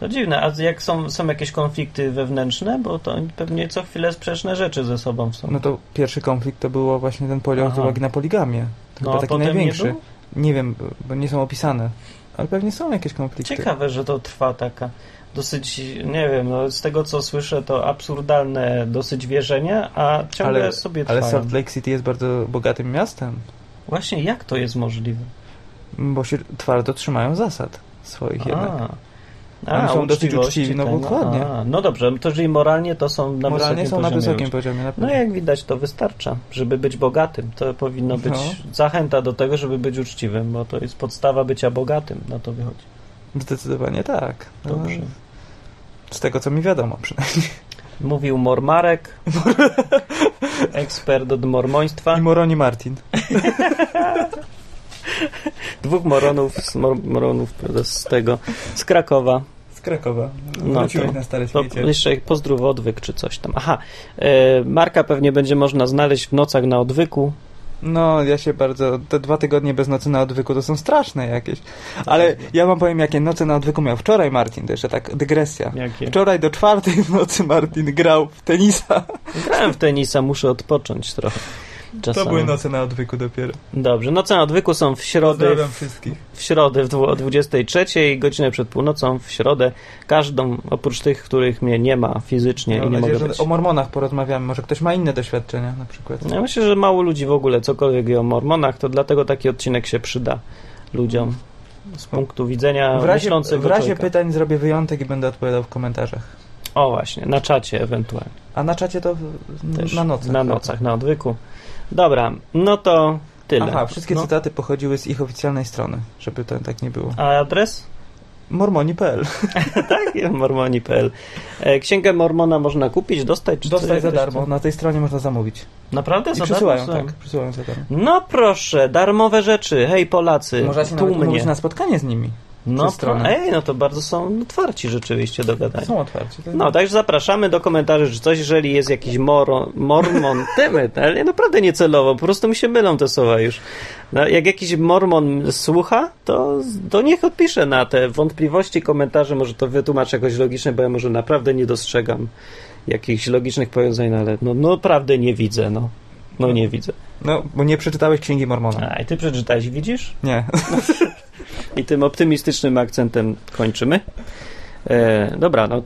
To dziwne, a jak są, są jakieś konflikty wewnętrzne, bo to oni pewnie co chwilę sprzeczne rzeczy ze sobą są.
No to pierwszy konflikt to było właśnie ten podział z
Aha. No,
uwagi na poligamię. To chyba
a
taki
potem
największy.
nie
Nie,
było?
wiem, bo nie są opisane. Ale pewnie są jakieś konflikty.
Ciekawe, że to trwa taka dosyć, nie wiem, no, z tego co słyszę to absurdalne dosyć wierzenia, a ciągle
Ale-
sobie trwa.
Ale Salt Lake City jest bardzo bogatym miastem,
Właśnie jak to jest możliwe?
bo się twardo trzymają zasad swoich jednak.
A,
Oni są dosyć
uczciwości,
uczciwi, no
tak,
dokładnie.
a, No dobrze, to czyli moralnie to są na
Moralnie
wysokim
są na
poziomie
wysokim
już.
poziomie. Na
No
pewno.
jak widać, to wystarcza, żeby być bogatym. To powinno być
No.
zachęta do tego, żeby być uczciwym, bo to jest podstawa bycia bogatym, na to wychodzi.
Zdecydowanie tak. No,
Dobrze.
Z tego, co mi wiadomo przynajmniej.
Mówił Mormarek, ekspert od mormoństwa.
I Moroni Martin.
Dwóch moronów z, mor- moronów, prawda, z tego, z Krakowa.
Z Krakowa.
No Wróciłeś to-
na stare
To jeszcze pozdrów odwyk czy coś tam. Aha, e, Marka pewnie będzie można znaleźć w nocach na odwyku.
No, ja się bardzo. Te dwa tygodnie bez nocy na odwyku to są straszne jakieś. Ale ja wam powiem, jakie noce na odwyku miał wczoraj Martin, to jeszcze tak dygresja.
Jakie?
Wczoraj do czwartej w nocy Martin grał w tenisa.
Grałem w tenisa, muszę odpocząć trochę. Czasami.
To były noce na odwyku dopiero.
Dobrze, noce na odwyku są w środę,
Pozdrawiam wszystkich.
w środę w dwu- o 23, godzinę przed północą, w środę, każdą, oprócz tych, których mnie nie ma fizycznie i
Mam
nie
nadzieję,
mogę
że
być.
o mormonach porozmawiamy. Może ktoś ma inne doświadczenia na przykład.
Ja myślę, że mało ludzi w ogóle cokolwiek wie o mormonach, to dlatego taki odcinek się przyda ludziom z punktu widzenia
W razie,
myślącego
w razie
człowieka.
pytań zrobię wyjątek i będę odpowiadał w komentarzach.
O właśnie, na czacie ewentualnie.
A na czacie to w-
Też
na nocach. tak.
Na nocach, na odwyku. Dobra, no to tyle.
Aha, wszystkie
no.
cytaty pochodziły z ich oficjalnej strony, żeby to tak nie było.
A adres?
Mormoni.pl
Tak, mormoni.pl. E, Księgę Mormona można kupić, dostać czy
Dostać
coś-
za
coś-
darmo, na tej stronie można zamówić.
Naprawdę
I
za
przysyłają,
darmo?
tak, przysyłają za darmo.
No proszę, darmowe rzeczy. Hej Polacy,
Można się nawet
tu mnie.
umówić na spotkanie z nimi.
no,
przez stronę.
pro- Ej, no to bardzo są otwarci rzeczywiście do gadania.
Są tak? otwarci. To...
Tak. No, także zapraszamy do komentarzy, czy coś, jeżeli jest jakiś moro, mormon, dymy, ale ja naprawdę niecelowo, po prostu mi się mylą te słowa już. No, jak jakiś mormon słucha, to, to niech odpisze na te wątpliwości, komentarze, może to wytłumaczę jakoś logicznie, bo ja może naprawdę nie dostrzegam jakichś logicznych powiązań, no ale no, no naprawdę nie widzę, no. No nie widzę.
No, bo nie przeczytałeś Księgi
Tak.
Mormona.
A, i ty przeczytałeś, widzisz?
Nie.
I tym optymistycznym akcentem kończymy. E, dobra, no